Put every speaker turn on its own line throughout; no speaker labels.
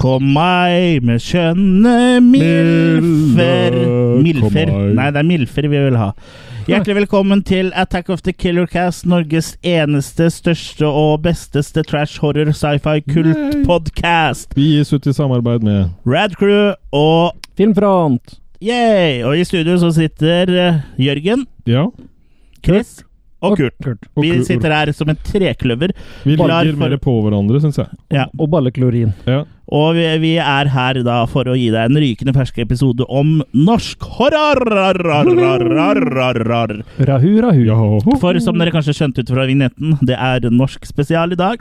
på meg med skjønne milfer. Milfer. Nei, det er milfer vi vil ha. Hjertelig velkommen til Attack of the Killer Cast, Norges eneste, største og besteste trash horror sci-fi
Nei.
kult-podkast.
Vi gis ut i samarbeid med
Rad Crew og
Filmfront.
Yay! Og i studio så sitter eh, Jørgen,
Ja.
Chris og Kurt.
og
Vi
Kurt.
sitter her som en trekløver,
Vi
Klar
ligger
for-
mer på hverandre, syns jeg.
Og balleklorin.
Ja.
og vi, vi er her da for å gi deg en rykende fersk episode om norsk horror!
Hurra, hurra, hurra.
ja.
For som dere kanskje skjønte ut fra vignetten, det er norsk spesial i dag.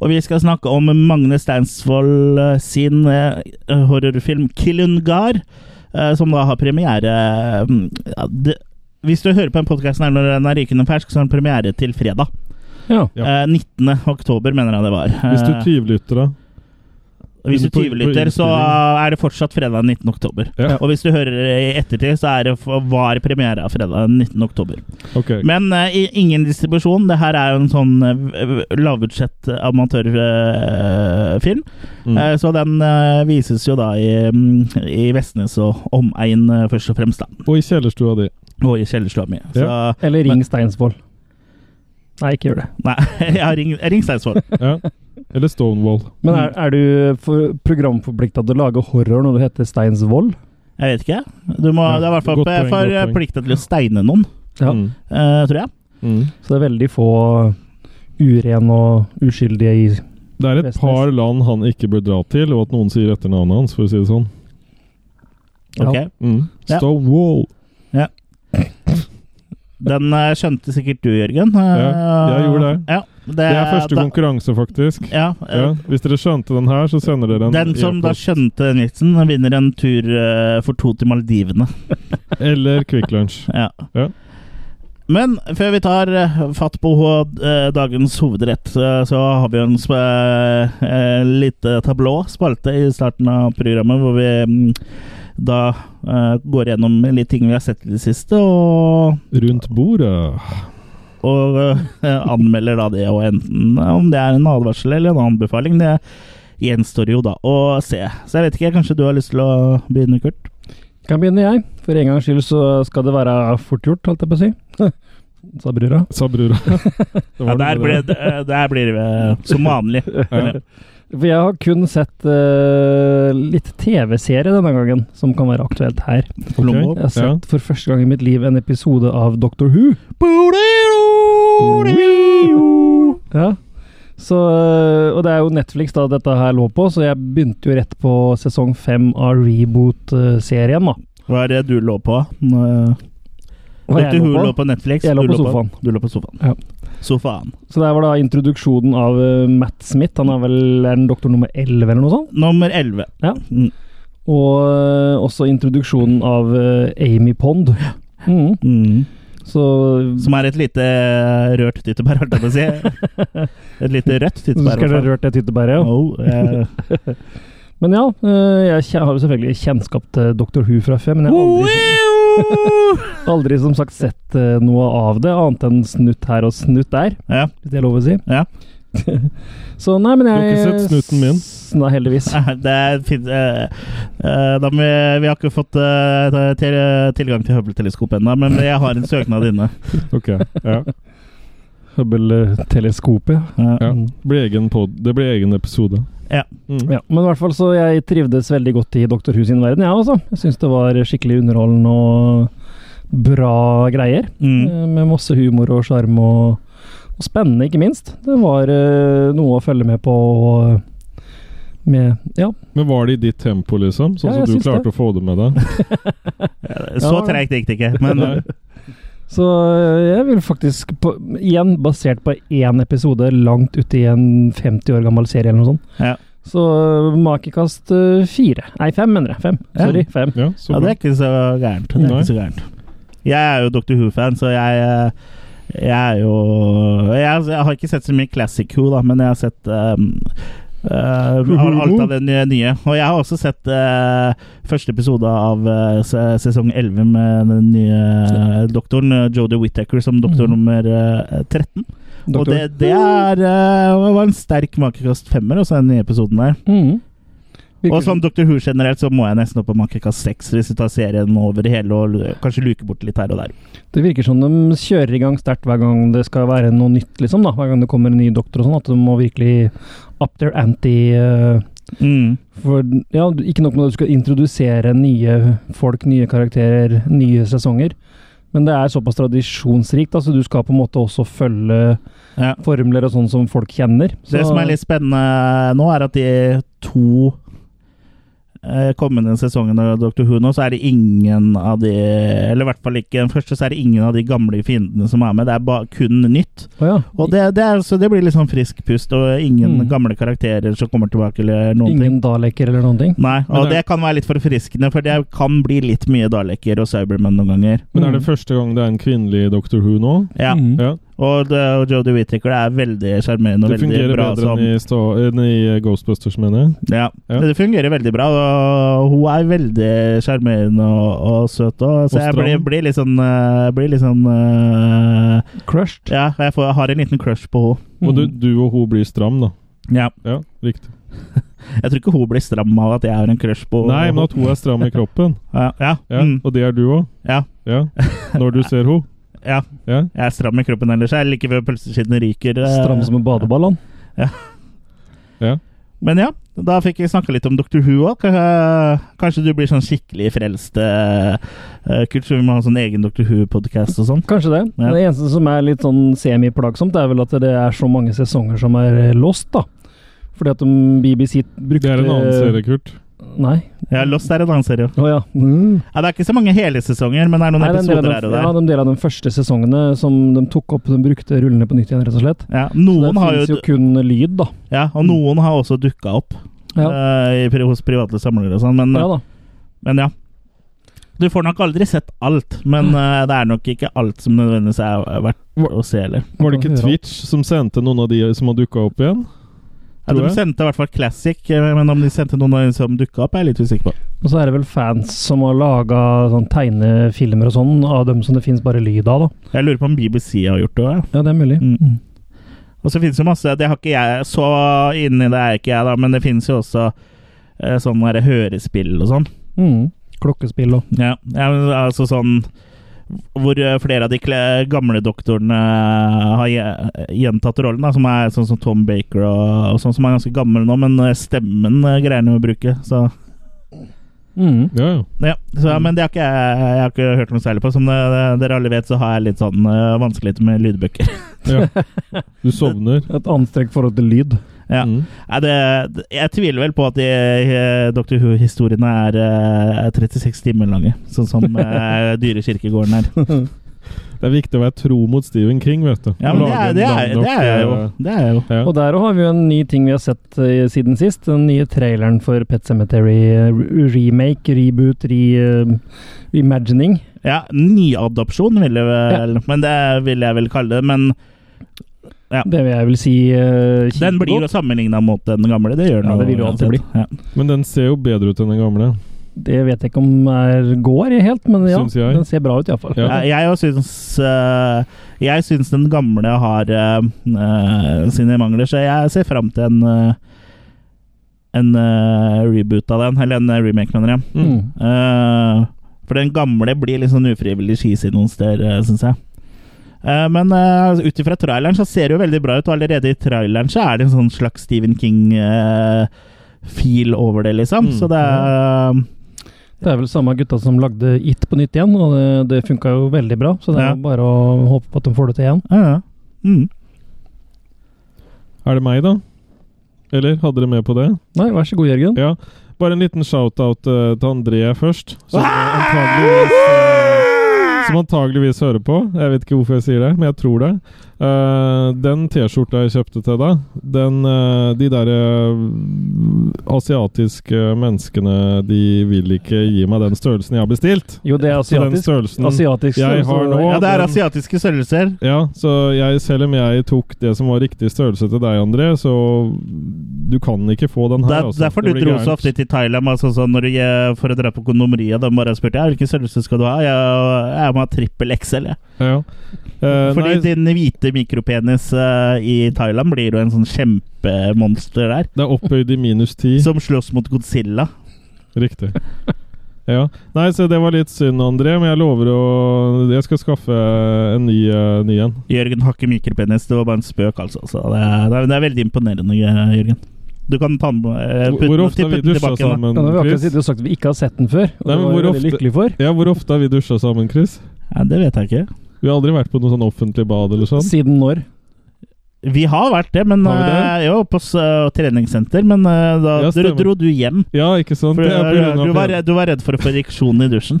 Og vi skal snakke om Magne Steinsvold eh, sin eh, horrorfilm 'Kilungar', eh, som da har premiere mm, ja, det, Hvis du hører på den podkasten her når den er rykende fersk, så har den premiere til fredag.
Ja.
Ja.
Eh, 19. oktober, mener jeg det var. Eh,
Hvis du tyvlytter, da.
hvis du
på- på
tyvlytter, så
innspilling.
er det fortsatt fredag 19. oktober.
Ja.
Og hvis du hører det i ettertid, så er det, var premiere fredag 19. oktober.
Ok.
Men eh, i- ingen distribusjon. Det her er jo en sånn uh, lavbudsjett eh, amatørfilm.
Mm.
Eh, så den eh, vises jo da i, mm, i Vestnes og omegn, eh, først og fremst. da.
Og i kjellerstua di.
Og i kjellerstua mi. Så
Eller Ring Steinsvoll. Nei, ikke gjør det.
nei, jeg har ring, ring Steinsvoll.
Ja. Eller Stonewall.
Men er, er du for- programforplikta til å lage horror når du heter Steinsvoll?
Jeg vet ikke. Du må,
Ja,
det er i hvert fall
godt poeng, godt poeng.
forplikta til å steine noen,
Ja.
Mm.
eh, tror jeg.
Mm.
Så det er veldig få uren og uskyldige i
Det er et
Vestnes.
par land han ikke bør dra til, og at noen sier etternavnet hans, for å si det sånn.
Ja.
Ok.
Mm.
Ja.
Stonewall.
Den eh, skjønte sikkert du, Jørgen. Eh,
Ja, jeg gjorde det.
Ja, det,
Det er første
Eh, da-
konkurranse, faktisk.
Ja, eh,
Ja. Hvis dere skjønte den her, så sender dere en
Den som da
e-post.
skjønte den vitsen, den vinner en tur eh, for to til Maldivene.
Eller Quick Lunch.
Ja.
Ja.
Men før vi tar eh, fatt på eh, dagens hovedrett, eh, så har vi jo en sp eh, lite tablå, spalte, i starten av programmet, hvor vi mm, da eh, går gjennom litt ting vi har sett i det siste, og,
Rundt bordet.
og eh, anmelder da det, og enten eh, om det er en advarsel eller en anbefaling. Det gjenstår jo da å se. Så jeg vet ikke, kanskje du har lyst til å begynne, Kurt?
Kan begynne jeg. For en gangs skyld så skal det være fort gjort, holdt jeg på å si. Sa brura.
Sa brura. Det
Ja,
var det
der,
med
ble,
det.
eh,
det- der blir vi som vanlig.
Ja.
For jeg har kun sett eh, litt TV-serie denne gangen, som kan være aktuelt her.
Plombo.
Jeg har
Ja.
sett for første gang i mitt liv en episode av Doctor Who. Ja. Så, øh, og det er jo Netflix da dette her lå på, så jeg begynte jo rett på sesong fem av reboot-serien. da.
Hva er det du lå på? Nå, eh,
Hva
Vet du
jeg lå
hun
på?
lå på Netflix?
Jeg lå
Du
på sofaen.
Du lå på sofaen.
Ja.
Sofaen.
Så der var da introduksjonen av øh, Matt Smith. Han er vel er den doktor nummer elleve eller noe sånt.
Nummer 11.
Ja.
Mm.
Og øh, også introduksjonen av øh, Amy Pond. Mhm.
Mm.
Så
Som er et lite eh, rørt tyttebær, holdt jeg på å si. Et lite rødt
du
tyttebær. i
skal
hvert
ha
fall.
rørt det tyttebæret, ja.
Oh, eh,
Men ja, øh, jeg kje- har jo selvfølgelig kjennskap til Doctor Who fra før, men jeg har aldri Aldri som sagt sett eh, noe av det, annet enn snutt her og snutt der,
ja.
hvis det er lov å si.
Ja.
så nei, men
Du
jeg
har ikke sett snutten min?
S- Nei, heldigvis.
Nei, Det fins eh, da må vi, vi har ikke fått eh, til, tilgang til Hubble-teleskopet ennå, men jeg har en søknad inne.
Ok, ja.
Hubble-teleskopet.
Ja.
ja.
Mm.
Blir egen pod. Det blir egen episode.
Ja.
Mm.
Ja, men i hvert fall så jeg trivdes veldig godt i Doktor Who sin verden, jeg også. Jeg syns det var skikkelig underholdende og bra greier.
Mm.
eh, Med masse humor og sjarm og, og spennende, ikke minst. Det var eh, noe å følge med på. Og, eh, med, ja,
Men var det i ditt tempo, liksom? Sånn
Ja,
som
jeg
du
syns
klarte å få det med deg?
Eh, Så
Ja.
treigt gikk det ikke, men
Nei.
Så eh, jeg vil faktisk, på, igjen basert på én episode langt uti en 50 år gammel serie eller noe sånt,
Ja.
så makekast eh, fire. Nei, fem, mener jeg. Fem.
Ja.
Sorry, fem.
Ja, så
ja, det
bra.
er ikke så gærent. Det er
Nei.
ikke så gærent. Jeg er jo Dr. Who-fan, så jeg, eh, jeg er jo jeg, jeg har ikke sett så mye Classic Who, da, men jeg har sett ehm, eh, al- alt av det nye, nye. Og jeg har også sett eh, første episode av eh, se- sesong 11 med den nye doktoren, eh, Jodie Whittaker, som doktor
Mhm.
nummer eh, 13. Og
Doktor.
det, det er, eh, var en sterk makekast femmer, også den nye episoden der.
Mhm.
Og som Dr. Who generelt, så må jeg nesten opp på makekast seks hvis du tar serien over det hele og l- kanskje luke bort litt her og der.
Det virker som de kjører i gang sterkt hver gang det skal være noe nytt, liksom. da. Hver gang det kommer en ny doktor og sånn, at de må virkelig up their ante. eh,
Mm.
for ja, ikke nok med at du skal introdusere nye folk, nye karakterer, nye sesonger. Men det er såpass tradisjonsrikt, altså du skal på en måte også følge
Ja.
formler og sånn som folk kjenner.
Det som er litt spennende nå, er at de to eh, kommende sesongene av Dr. Who nå, så er det ingen av de Eller i hvert fall ikke den første, så er det ingen av de gamle fiendene som er med. Det er ba, kun nytt.
Å ja.
Og det, det er, så det blir litt sånn frisk pust, og ingen
Mm.
gamle karakterer som kommer tilbake eller noen ting.
Ingen daleker eller noen ting.
Nei,
Men
og
det-
det kan være litt forfriskende, for det kan bli litt mye Daleker og Cybermen noen ganger.
Men er det
Mm.
første gang det er en kvinnelig Doctor Who nå?
Ja,
Mm.
Ja.
Og, det- og Jodie Whittaker er veldig sjarmerende og
Det
veldig
fungerer
bra.
bedre
Som,
enn i, sta enn i eh, Ghostbusters, mener jeg.
ja.
Ja.
Det fungerer veldig bra, og hun er veldig sjarmerende og, og søt. Og, så
Og
jeg
stram.
blir, blir litt sånn, eh, blir litt sånn eh,
Crushed.
Ja, jeg, får, jeg har en liten crush på henne.
Og du,
Mm.
du og hun blir stram, da.
Ja.
Ja, riktig.
Jeg tror ikke hun blir stram av at jeg har en crush på
Nei, men at hun er stram i kroppen.
Ja, ja,
Ja,
mm,
Og det er du òg?
ja,
Ja. Når du ser henne?
ja.
Ja.
Jeg er stram i kroppen ellers. Jeg er like før pølseskinnet ryker. eh.
Stram som en badeball, han.
Men ja, da fikk vi snakka litt om Dr. Who òg. Kanskje du blir sånn skikkelig frelst eh, eh, Kurt, så vi må ha sånn egen Dr. Who-podkast og sånn.
Kanskje det.
Ja.
Det eneste som er litt sånn semiplagsomt, er vel at det er så mange sesonger som er eh, lost, da. Fordi at de BBC brukte
Det er en annen serie, Kurt.
Nei.
Ja, Lost er en annen serie.
Å ja. Mm.
Ja, det er ikke så mange hele sesonger, men det Sånn er noen
Nei, det er en del av
episoder her
de,
og
ja,
der.
de del av de første sesongene som de tok opp, de brukte rullene på nytt igjen, rett og slett.
Ja,
Så
noen
det
har
finnes
jo,
jo kun lyd, da.
ja, og noen har også dukka opp
Ja,
eh, i pri- hos private samlere og sånn, men,
ja da.
men ja. Du får nok aldri sett alt, men eh, det er nok ikke alt som nødvendigvis er verdt å se heller.
Var det ikke Twitch som sendte noen av de som har dukka opp igjen?
Ja,
Tror
de
jeg.
sendte i hvert fall Classic, eh, men om de sendte noen av de som dukka opp, er jeg litt usikker på.
Og så er det vel fans som har laga sånn tegnefilmer og sånn, av dem som det finnes bare lyd av, da.
Jeg lurer på om BBC har gjort det òg.
Ja, det er mulig.
Mm. Og så finnes jo masse Det har ikke jeg så inni det er ikke jeg, da, men det finnes jo også eh, sånne der hørespill og sånn.
Mm. Klokkespill og
Ja, ja, men altså sånn hvor eh, flere av de kle- gamle doktorene eh, har gje- gjentatt rollen, da, som er sånn som Tom Baker og, og sånn, som er ganske gammel nå, men eh, stemmen eh, greier han jo å bruke. Så,
mm.
Ja, ja.
ja, så, ja, men det har ikke jeg, jeg har ikke hørt noe særlig på. Som eh, dere alle vet, så har jeg litt sånn eh, vanskeligheter med lydbøker.
ja. Du sovner.
Et anstrengt forhold til lyd.
Ja.
Mm.
Nei, det, det- jeg tviler vel på at de eh, Dr. Who-historiene er eh, er 36 timer lange, sånn som eh, dyrekirkegården er.
Det er viktig å være tro mot Stephen King, vet du.
Ja,
Å
men det
lage
er,
en
det er, det
lang nok,
er jeg jo.
eh,
Det er jeg jo.
Ja.
Og der også har vi jo en ny ting vi har sett eh, siden sist. Den nye traileren for Pet Cemetery eh, re- remake, reboot, re, eh, reimagining.
Ja, nyadopsjon vil jeg vel Men det vil jeg vel kalle det. Men
Det vil jeg vel si eh,
den blir jo
kjempegodt.
sammenligna mot den gamle. Det gjør den
Ja, det vil jo alltid
uansett. Ja.
Men den ser jo bedre ut enn den gamle.
Det vet jeg ikke om er går helt, men ja,
Syns jeg.
den ser bra ut iallfall.
Ja.
Ja, Jeg òg syns øh, Jeg syns den gamle har øh, øh, sine mangler, så jeg ser fram til en øh, en øh, reboot av den. Eller en øh, remake, mener jeg.
Mm.
Mm.
Eh, for den gamle blir litt sånn ufrivillig cheesy noen steder, uh, syns jeg. Eh, men uh, ut ifra traileren så ser det jo veldig bra ut, og allerede i traileren så er det en sånn slags Stephen King-feel over det, liksom.
Mm.
så det er
Det er vel samme gutta som lagde It på nytt igjen, og det, det funka jo veldig bra. Så det er
Ja.
jo bare å håpe på at de får det til igjen.
ja, ja. mm.
Er det meg, da? Eller hadde dere med på det?
Nei, vær så god, Jørgen.
Ja. Bare en liten shout-out eh, til André først.
Ah!
Som antageligvis, eh, som antageligvis hører på. Jeg vet ikke hvorfor jeg sier det, men jeg tror det. Eh, den T-skjorta jeg kjøpte til deg, den, eh, de der eh, asiatiske menneskene De vil ikke gi meg den størrelsen jeg har bestilt.
Jo, det er
Så den
asiatisk.
størrelsen
asiatisk
jeg
så-
har
så-
nå-
ja, det er
den-
asiatiske størrelser.
Ja, så jeg, selv om jeg tok det som var riktig størrelse til deg, André, så du kan ikke få den
Det
her.
er
altså.
derfor du
Det blir
dro så
gærent.
ofte til Thailand altså, sånn når du, eh, for å dra på kondomeriet. De bare spurte ja, hvilken størrelse skal du ha. Jeg, jeg som har trippel XL. Ja.
Ja. Eh,
Fordi
nei,
din hvite mikropenis eh, i Thailand blir jo en sånn kjempemonster der.
det er opphøyd i minus ti.
Som slåss mot Godzilla.
Riktig. Ja. Nei, så det var litt synd, André, men jeg lover å Jeg skal skaffe en ny, eh, ny en.
Jørgen har ikke mikropenis, det var bare en spøk, altså. Så det, er, det er- det er veldig imponerende, Jørgen. Du kan ta den eh,
Hvor,
putte
hvor
den-
ofte har vi
putte den
dusja
tilbake igjen, da.
sammen,
Kan vi akkurat
Chris?
sitte og sagt at vi ikke har sett den før?
Nei,
Og det
men
var
hvor
jeg veldig
ofte-
lykkelig for.
Ja, hvor ofte har vi dusja sammen, Chris?
Ja, det vet jeg ikke.
Vi har aldri vært på noe sånn offentlig bad eller sånn.
Siden når?
Vi har vært det, men
Har vi det?
eh, jo, på s- eh, treningssenter. Men eh, da dro,
Ja, stemmer.
dro du hjem.
Ja, ikke sant?
For,
Det er på
eh,
grunn av
du, var,
PH.
redd- du var redd for å få ereksjon i dusjen.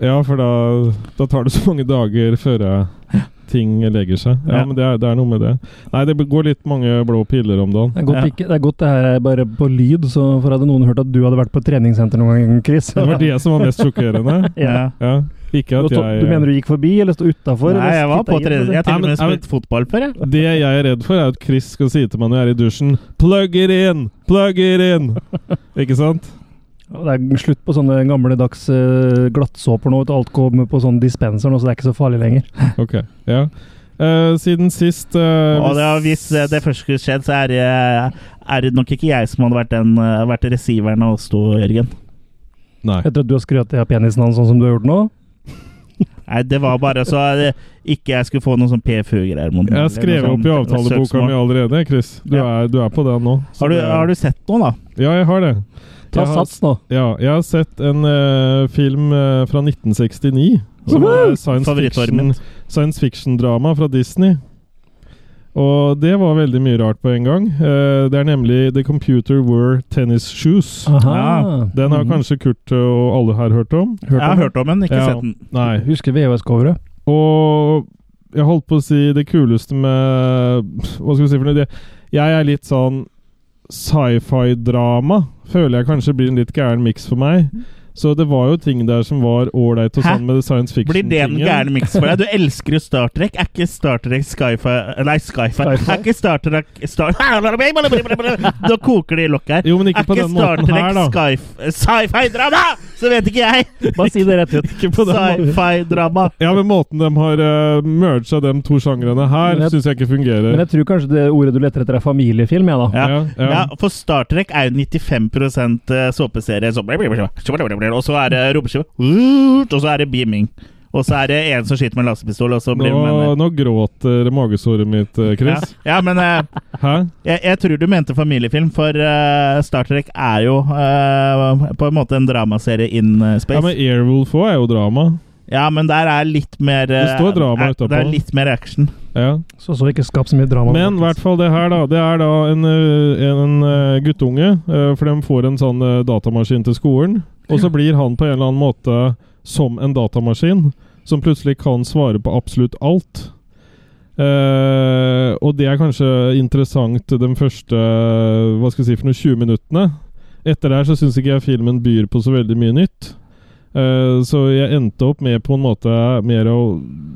Ja, for da, da tar det så mange dager før eh, ting legger seg. Ja,
Ja.
men det er, det er noe med det. Nei, det går litt mange blå piller om dagen.
Det er, godt,
Ja.
ikke, det er godt det her er bare på lyd, så for hadde noen hørt at du hadde vært på treningssenter noen gang, Chris.
Det var det som var mest sjokkerende.
Ja.
Ja, ikke
Du,
at jeg
du mener du gikk forbi, eller sto utafor?
Nei, jeg var på trening. Jeg har til og
Nei, men-
med spilt fotball før, jeg.
Det jeg er redd for, er at Chris skal si til meg når jeg er i dusjen Plug it in! Plug it in! Ikke sant?
Det er slutt på sånne gamledags eh, glattsåper nå. vet du. Alt kommer på sånn dispenser nå, så det er ikke så farlig lenger.
Ok, ja. Eh, siden sist eh,
Og det, og hvis eh, det først skulle skjedd, så er, jeg- er det nok ikke jeg som hadde vært, den, eh, vært receiveren av oss to, Jørgen.
Nei.
Etter at du har skrøt av penisen hans sånn som du har gjort nå.
Nei, det var bare så eh, ikke jeg skulle få noen sånn PFU-greier. mot meg,
Jeg har
eller
skrevet
noe
opp
sånt,
i
eller
avtaleboka
søksmål.
mi allerede, Chris. Du
Ja.
er, du er på den nå. Så
Har du,
det er-
har du sett noen, da?
Ja, jeg har det.
Ta
Jeg har-
sats nå.
Ja, jeg har sett en eh, film eh, fra 1969. Som
Woohoo!
er science
Favorittåret
fiction,
mitt.
science fiction-drama fra Disney. Og det var veldig mye rart på en gang. Eh, det er nemlig The Computer Were Tennis Shoes.
Aha. Mm.
Ja,
Den har
Mhm.
kanskje Kurt og alle her hørt om.
Jeg har hørt om den, ikke
Ja.
sett den.
Nei.
Husker VHS-coveret.
Og jeg holdt på å si det kuleste med Hva skal vi si for noe? Det- Jeg er litt sånn sci-fi-drama. Føler jeg kanskje blir en litt gæren miks for meg. Så det var jo ting der som var ålreit og
Mm. Hæ?
sånn med det science
Blir det en
fiction-tingen.
gæren miks for deg? Du elsker jo Star Trek. Er ikke Star Trek Skyfi... Nei, Skyfi.
Skyfi?
Er ikke Star Trek Star... Nå koker det i lokket her.
Jo, men
Er
ikke på
ikke
den
Star
måten her, da.
Trek Skyf- Sci-fi-drama! Så vet ikke jeg!
Bare si det rett ut.
Ikke på den måten.
Sci-fi-drama.
Ja, men måten de har uh, merga de to sjangrene
Men
her,
jeg-
syns jeg ikke
Men
fungerer.
jeg tror kanskje det ordet du leter etter, er familiefilm, jeg, da.
Ja.
Ja, ja.
Ja, for Star Trek er jo 95 såpeserie. Så og så er det romskip, og så er det beaming. Og så er det en som skyter med en laserpistol, og så blir det
Nå,
med
nå gråter magesåret mitt, eh,
ja.
Chris.
ja, men eh,
Hæ?
Jeg, jeg tror du mente familiefilm, for eh, Star Trek er jo eh, på en måte en dramaserie in eh, space.
Ja, men Airwolf òg er jo drama.
der er litt mer eh,
Det står drama
er-
utapå.
Det er litt mer action.
Ja.
Så så ikke skap så mye drama.
Men i hvert fall det her, da. Det er da en, ø, en ø, guttunge, ø, for de får en sånn ø, datamaskin til skolen. Og så blir han på en eller annen måte som en datamaskin, som plutselig kan svare på absolutt alt. Eh, og det er kanskje interessant de første hva skal jeg si, for noen 20 minuttene. Etter der så syns ikke jeg filmen byr på så veldig mye nytt. Eh, så jeg endte opp med på en måte mer å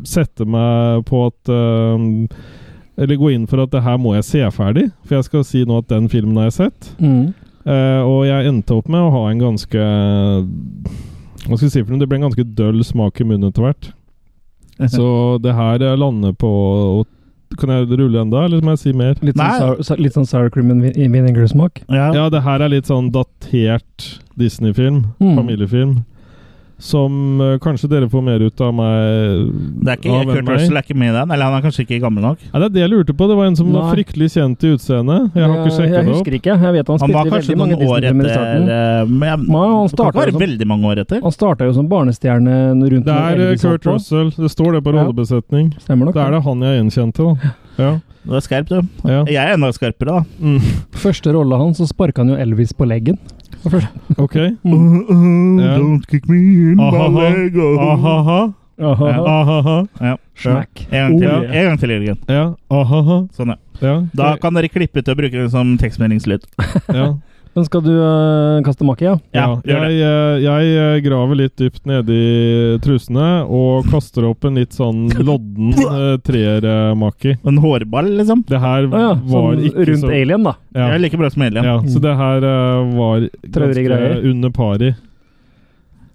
sette meg på at eh, eller gå inn for at det her må jeg se ferdig, for jeg skal si nå at den filmen har jeg sett.
mm.
Eh, og jeg endte opp med å ha en ganske Hva skal jeg si for noe? Det ble en ganske døll smak i munnen etter hvert. Så det her jeg lander på og- Kan jeg rulle enda, eller må jeg si mer?
Litt sånn,
Nei.
sour, sa- litt sånn sour cream and vin- vinegar-smak.
Ja.
Ja, det her er litt sånn datert Disney-film.
Mm.
Familiefilm. Som eh, kanskje dere får mer ut av meg
Det er ikke,
av enn
Kurt
meg.
Russell er ikke med i den, eller han er kanskje ikke gammel nok.
Ja, det er det jeg lurte på. Det var en som var
Nei.
fryktelig kjent i utseendet. Jeg har ikke
jeg,
sjekket det opp.
husker ikke. Jeg vet han
Han
spilte
var
i
kanskje
veldig
noen
mange
år
Disney-filmer i
etter
starten.
eh, men jeg,
Ja, han
Det kan ikke
startet sånn.
være
som-
veldig mange år etter.
Han starta jo som barnestjerne rundt
Det
når
er eh,
Elvis holdt
Kurt
på.
Russell. Det står det på
Ja.
rollebesetning.
Stemmer nok.
Det er det han jeg gjenkjente, da. Ja.
Du er skerp, du.
ja.
Jeg er enda skarpere, da.
Mm.
Første rolla hans, så sparka han jo Elvis på leggen. Det var første-
Ok. Ja.
Don't kick me in
my leg, oh. Ahaha.
Aha.
Ahaha.
Ja.
Smack.
En gang til,
Oh,
en gang til Jørgen.
Ja. Ahaha.
Sånn, ja.
Ja.
Da kan dere klippe ut og bruke det som tekstmeldingslyd.
ja.
Men skal du øh, kaste makke, ja?
Ja,
Ja,
gjør det.
jeg, eh, jeg eh, graver litt dypt nedi trusene og kaster opp en litt sånn lodden eh, treermaki.
En hårball, liksom.
Det her
Å ja,
var
sånn
ikke
rundt
så
Alien, da.
Det
ja.
er like bra som Alien.
ja, Så det her eh, var
Traurig
ganske
greier.
under pari.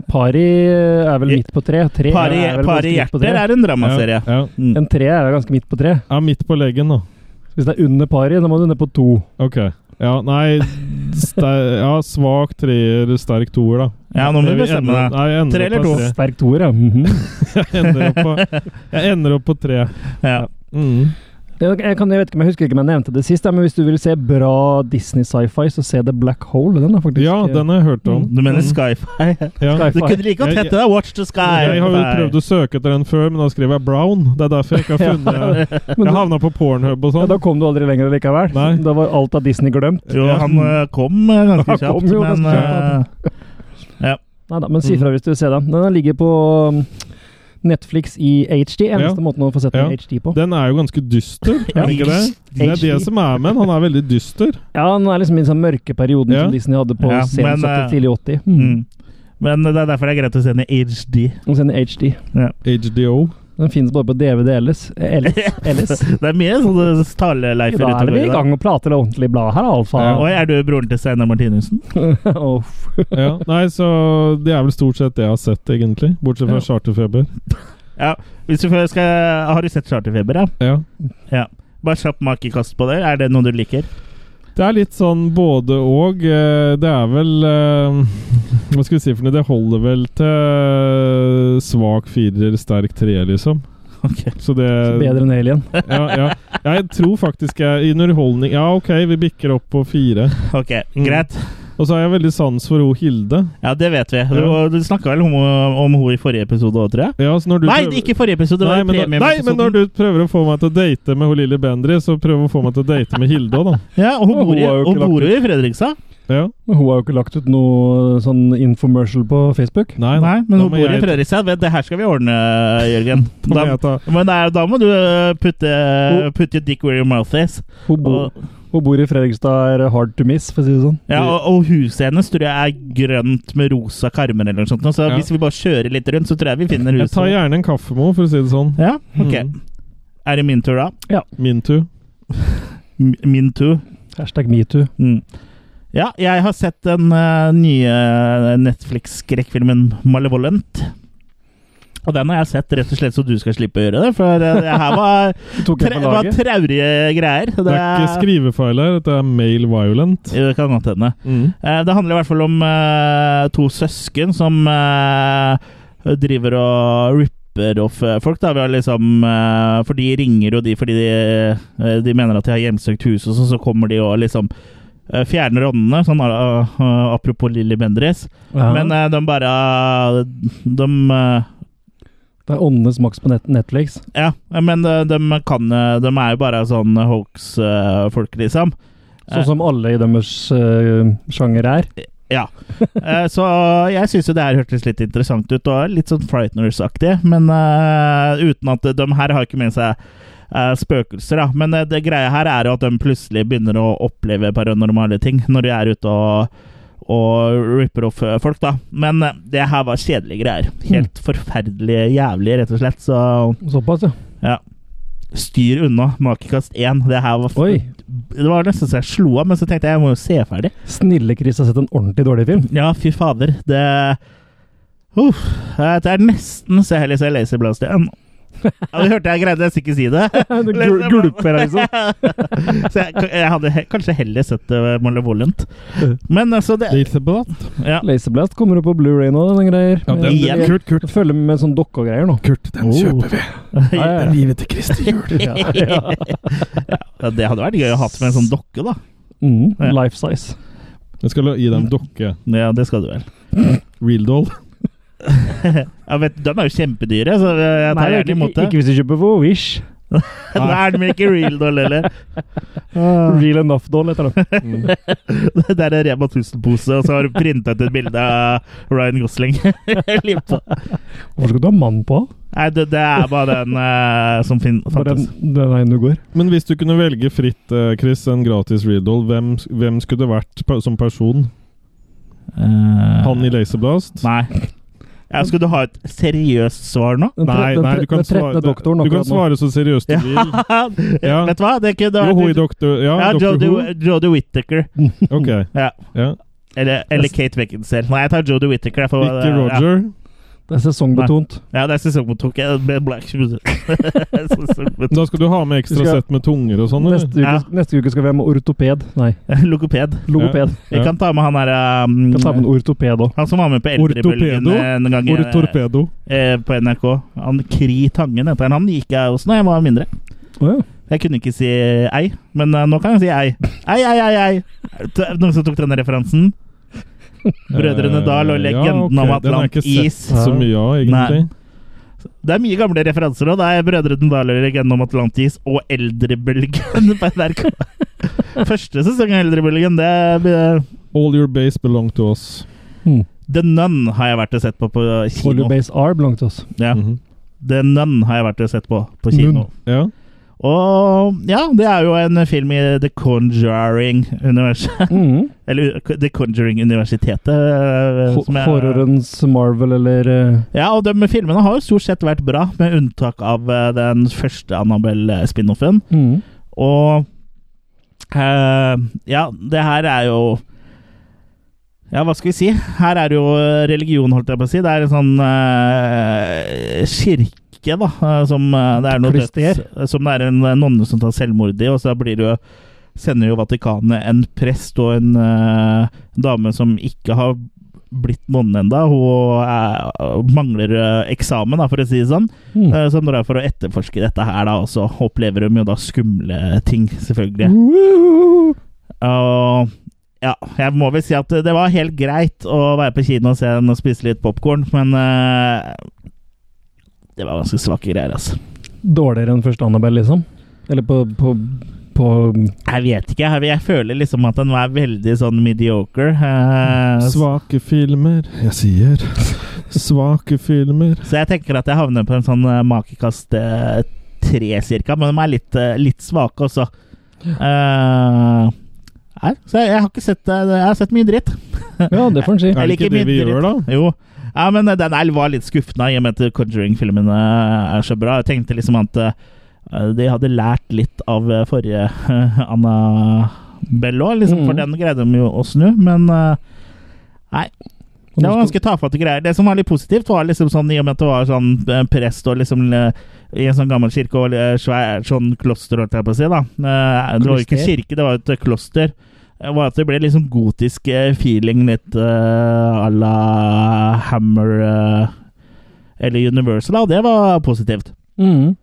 Pari eh, er vel
Ja.
midt på tre. tre
Pari,
er vel
pari
ganske midt på tre.
hjerter er en dramaserie.
Ja, ja.
Mm.
En tre er ganske midt på tre.
ja, midt på leggen, da.
Hvis det er under pari, da må du ned på to.
Ok. Ja, nei ster Ja, svak treer, sterk toer, da.
Ja, nå må du
Jeg vil
bestemme
endre-
deg.
Nei, jeg ender
Tre
opp
eller
på
to?
tre.
Sterk toer, ja. Mhm.
Jeg ender opp på, jeg ender opp på tre.
Ja.
Mm.
Jeg, jeg, kan, jeg, vet ikke, om jeg husker ikke om jeg nevnte det sist, ja, men hvis du vil se bra Disney sci-fi, så se The Black Hole. Den er faktisk eh,
Ja, den har jeg hørt om.
Mm.
Mm.
Du mener Skyfi?
Ja.
Du kunne like godt hette det Watch the Sky.
Jeg har jo prøvd å søke etter den før, men da skrev jeg Brown. Det er derfor jeg ikke har funnet Jeg
Men da,
havna på Pornhub og
ja,
sånn.
da kom du aldri lenger likevel.
Nei.
Da var alt av Disney glemt.
Jo, han eh, kom eh, ganske
Han kom
kjapt,
jo ganske
men eh,
Neida, men
Mhm.
si fra hvis du vil se den. Den ligger på um, Netflix i HD. Eneste
Ja.
måten å få sett den i
Ja.
HD på.
Den er jo ganske dyster, er den ikke det? Det er det som er med den. Han er veldig dyster.
Ja, den er liksom i den sånn mørke perioden
Ja.
som Disney hadde
Ja,
på
men,
sent 70,
eh,
tidlig 80. Mm.
mm. Men det er derfor det er greit å se den i HD.
Og sen i HD.
HDO.
Den finnes bare på DVD ellers. Eh, Ellers. ellers.
Det er mye sånne taleleifer
Da er vi i gang og prater ordentlig blad her, altså. alfa.
Ja.
Oi, er du broren til Steinar Martinussen?
Og
Ja. Nei, så det er vel stort sett det jeg har sett, egentlig. Bortsett fra
Ja.
Charterfeber.
Hvis du først skal, har du sett Charterfeber, ja?
Ja.
Bare kjapp makekast på det. Er det noe du liker?
Det er litt sånn både og. eh, Det er vel eh, Hva skal vi si for noe? Det holder vel til svak firer, sterk treer, liksom.
Ok.
Så det
bedre enn Alien.
Ja, ja. Jeg tror faktisk jeg i underholdning Ja, OK, vi bikker opp på fire.
Ok,
Mm.
Greit.
Og så har jeg veldig sans for ho Hilde.
Ja, det vet vi. Du,
Ja.
du snakka vel om, om henne i forrige episode òg, tror jeg?
Ja, så når du
Nei,
prøver-
ikke forrige episode. Det
Nei
var
men, da, nei, men når du prøver å få meg til å date med hun lille Bendry, så prøv å få meg til å date med Hilde òg, da.
Ja, og Hun
Hun
bor i-
har jo ikke
hun
lagt
bor jo i Fredrikstad.
Ja.
Men Hun har jo ikke lagt ut noe sånn infomercial på Facebook.
Nei,
Nei, men
da
hun
må
bor i
jeg-
Fredrikstad. Vet, Det her skal vi ordne, Jørgen.
Da må
Da,
jeg ta
men da- da må du eh, putte, putte your dick where your mouth is.
Hun, bo,
Og,
hun bor i Fredrikstad, er hard to miss, for å si det sånn.
ja, og, og huset hennes tror jeg er grønt med rosa karmer eller noe sånt. nå, Så
Ja.
hvis vi bare kjører litt rundt, så tror jeg vi finner
Jeg tar
huset.
gjerne en kaffe med henne, for å si det sånn.
Ja, ok.
Mm.
Er det min tur, da?
Min tur.
M- Min tur.
Hashtag metoo.
Mm. Ja, jeg har sett den eh, nye eh, Netflix-skrekkfilmen Malevolent. Og den har jeg sett rett og slett så du skal slippe å gjøre det, for eh, det her var,
Du tok
tre,
en på
var
laget.
traurige greier.
Det er ikke skrivefeil her, dette er male violent.
Jo, det kan godt hende.
Mm.
Eh, Det handler i hvert fall om eh, to søsken som eh, driver og ripper off eh, folk. Da. Vi har liksom, eh, for de ringer, og de fordi de, eh, de mener at de har hjemsøkt huset, og sånn, så, så kommer de og liksom eh, fjerner åndene. Sånn, eh, eh, apropos Lilly Bendriss.
Ja.
Men eh, de bare eh, De eh,
det er åndenes maks på net Netflix.
Ja, men eh, de kan eh, De er jo bare sånn hoax-folk, liksom. Eh,
Sånn som alle i deres eh, sjanger er.
Eh, Så jeg syns jo det her hørtes litt interessant ut, og litt sånn Frighteners-aktig. Men eh, uten at de her har ikke med seg eh, spøkelser, da. Men eh, det greia her er jo at de plutselig begynner å oppleve paranormale ting når de er ute og og ripper off eh, folk, da. Men eh, det her var kjedelige greier. Helt forferdelig jævlig, rett og slett. Så
Såpass, ja.
styr unna makekast 1. Det her var f
Oi.
Det var nesten så jeg slo av, men så tenkte jeg jeg må jo se ferdig.
Snille-Chris har sett en ordentlig dårlig film.
Ja, fy fader. Det Uff. eh, Det er nesten så heller så Laserblast igjen. Ja, du hørte jeg greide nesten ikke si det.
Du gul gulper, liksom.
så jeg, jeg hadde he kanskje heller sett det malevolent. Men altså, det
Laserblad.
ja.
Laserblast kommer opp på Blu-ray nå, den greier.
Ja, den-
den-
Følger
Kurt, Kurt. Oh.
med sånn dokke og greier nå.
Kurt, den kjøper vi.
Ja, ja, ja.
Livet til Kristi jul.
Ja, ja.
Ja, Det hadde vært gøy å ha med en sånn dokke, da.
Mm,
Ja.
life size.
Jeg skal gi dem dokke.
Ja, det skal du vel.
Real doll.
Jeg vet, de er jo kjempedyre, så jeg tar
Nei,
gjerne
ikke,
imot det.
ikke hvis du kjøper på Wish.
Da er de ikke real doll heller.
Real enough doll heter det.
Mm.
Det er en Rema 1000-pose, og så har du printa ut et bilde av Ryan Gosling. Limt på.
Hvorfor skal du ha mann på?
Nei, det, det er bare den eh, som fin
For den,
fantes.
den veien du går.
Men hvis du kunne velge fritt, eh, Chris, en gratis real doll, hvem, hvem skulle det vært pe- som person? Han i Laserblast?
Eh, Nei. Ja, skulle du ha et seriøst svar nå?
Den tre-
Nei,
den
nei,
tre-
du kan
den
svare,
trettende doktoren
du kan
akkurat nå.
svare så seriøst du vil. Ja.
Vet du hva? Det kunne
Jo, hun i
vært
doktor... Ja,
ja,
doktor
Jodie
Who.
Jodie Whittaker.
Ok.
Ja.
Ja.
Eller, eller Kate Beckinsale. Nei, jeg tar Jodie Whittaker. jeg får-
Ikke Roger.
Det er sesongbetont.
Ja, ja det er sesongmotok. Jeg- med Black Shoes. Sesongmotok.
Da skal du ha med ekstra
Vi skal-
sett med tunger og sånn, eller?
Neste, uke,
Ja.
neste uke skal vi ha med ortoped. Nei,
Logoped.
logoped.
Vi kan ta med han her um,
Kan ta med en ortoped òg.
Han som var med på Eldrebølgen
Ortopedo?
en gang
Hvor
eh,
torpedo.
eh, på NRK. Han Kri Tangen heter han. Han gikk jeg også da jeg var mindre.
Oh, ja.
Jeg kunne ikke si ei, men eh, nå kan jeg si ei. Ei, ei, ei, ei! Er det Noen som tok denne referansen? Brødrene Dal og
Eh,
legenden
ja,
om
ok, den har jeg ikke
Atlantis.
sett Så mye av, egentlig.
Det er mye gamle referanser òg. Det er Brødrene Dal og legenden om Atlantis og Eldrebølgen på NRK. Første sesong av Eldrebølgen, det er eh,
All your base belong to us.
Mm.
The Nun har jeg vært og sett på på
Holy
kino.
Base R belong til oss.
Ja.
Mhm.
The Nun har jeg vært og sett på på kino.
Nun.
Ja.
Og ja, det er jo en film i The Conjuring-universet.
Mm.
Eller The Conjuring-universitetet. eh,
Ho-
som jeg-
Horrorens Marvel eller eh,
Ja, og de filmene har jo stort sett vært bra, med unntak av eh, den første Annabelle-spin-offen.
mm.
Og eh, ja, det her er jo ja, hva skal vi si? Her er det jo religion, holdt jeg på å si. Det er en sånn eh, kirke, da, eh, som eh, det er noe
Kloster.
døds- Som det er en eh, nonne som tar selvmord i, og så blir det jo sender jo Vatikanet en prest og en eh, dame som ikke har blitt nonne ennå. Hun er, mangler eh, eksamen, da, for å si det sånn.
Mm.
eh, som drar for å etterforske dette her, da. Og så opplever hun jo da skumle ting, selvfølgelig.
Mm.
Woo!
Og ja, jeg må vel si at det var helt greit å være på kino og se den og spise litt popkorn, men eh, det var ganske svake greier, altså.
Dårligere enn første Annabelle, liksom? Eller på, på, på
Jeg vet ikke. Jeg, jeg føler liksom at den var veldig sånn mediocre. eh,
Mm. Svake filmer. Jeg sier svake filmer.
så jeg tenker at jeg havner på en sånn eh, makekast eh, tre, cirka. Men de er litt, eh, litt svake også. Eh, nei, så jeg, jeg har ikke sett eh, Jeg har sett mye dritt.
Ja, det får en si.
Er det
liker
ikke det vi
mindre-
gjør, da?
Jo. Ja, men eh, den er, var litt skuffende i og med at Conjuring-filmene eh, er så bra. Jeg tenkte liksom at eh, de hadde lært litt av eh, forrige eh, Annabelle òg, liksom,
Mhm.
for den greide de jo å snu, men eh,
Og
Det
nå
var
skal-
ganske tafatte greier. Det som var litt positivt, var liksom sånn i og med at det var sånn eh, prest og liksom eh, i en sånn gammel kirke og eh, svær, sånn kloster, holdt jeg på å si, da. Eh, Det var jo ikke
Kloster.
kirke, det var jo et eh, kloster. Det var at det ble liksom gotisk eh, feeling litt eh, à la Hammer eh, eller Universal, da. og Det var positivt.
mm.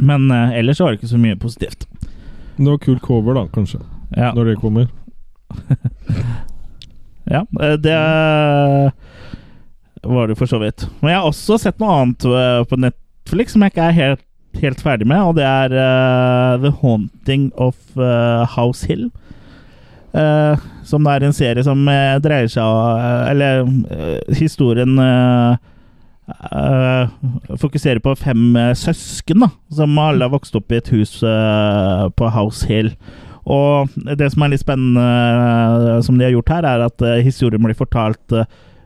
Men eh, ellers var det ikke så mye positivt.
Det var kul cover, da, kanskje.
Ja.
Når det kommer.
Ja, eh, det var det for så vidt. Men jeg har også sett noe annet eh, på Netflix som jeg ikke er helt, helt ferdig med, og det er eh, The Haunting of eh, House Hill. Eh, som er en serie som eh, dreier seg av Eller eh, historien eh, eh, fokuserer på fem eh, søsken da, som alle har vokst opp i et hus eh, på House Hill. Og det som er litt spennende eh, som de har gjort her, er at eh, historien blir fortalt eh,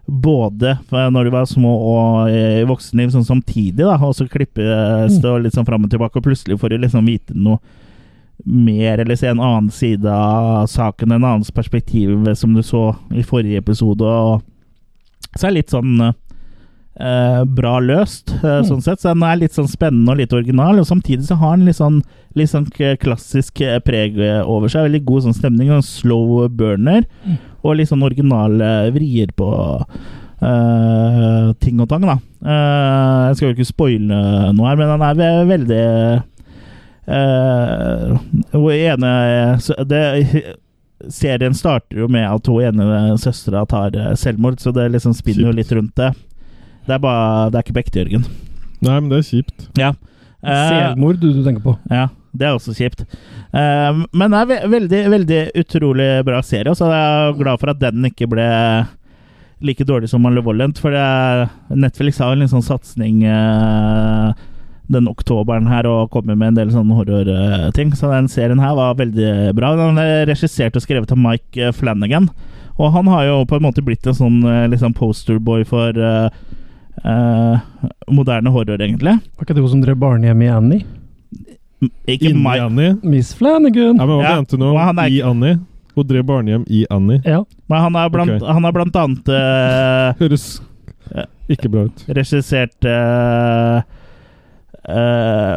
både fra når de var små og eh, i voksenliv, sånn samtidig, da, og så klippes det og litt sånn fram og tilbake, og plutselig får de liksom vite noe mer, eller se en annen side av saken, en annens perspektiv, som du så i forrige episode, og så er det litt sånn eh, eh, bra løst, eh, sånn sett. Så den er litt sånn spennende og litt original, og samtidig så har den litt sånn litt sånn k- klassisk eh, preg eh, over seg. Veldig god sånn stemning. En slow burner. Og litt sånn originale vrier på eh, ting og tang, da. Eh, jeg skal jo ikke spoile noe her, men den er ve- veldig eh, Hun ene så det, Serien starter jo med at hun ene søstera tar eh, selvmord, så det liksom spinner jo litt rundt det. Det er, bare, det er ikke på ekte, Jørgen.
Nei, men det er kjipt.
Eh,
Selvmord du, du tenker på.
ja, det er også kjipt. Eh, men det er ve veldig, veldig utrolig bra serie, og så er jeg glad for at den ikke ble like dårlig som Malevolent, for det er, Netflix har en litt sånn satsing eh, den oktoberen her og kommer med en del sånne horrorting, så den serien her var veldig bra. Den er regissert og skrevet av Mike eh, Flanagan, og han har jo på en måte blitt en sånn eh, litt sånn posterboy for eh, eh, moderne horror, egentlig.
Var ikke det hun som drev barnehjem i Annie?
Ikke
Inni
Mike
Annie.
Miss Flanagan!
Ja, men hva
Ja,
mente du nå?
og han er
I Annie? Hun drev barnehjem i Annie.
Ja.
Men han har blant,
Ok.
han har blant annet eh,
Høres ikke bra ut.
regissert eh, eh,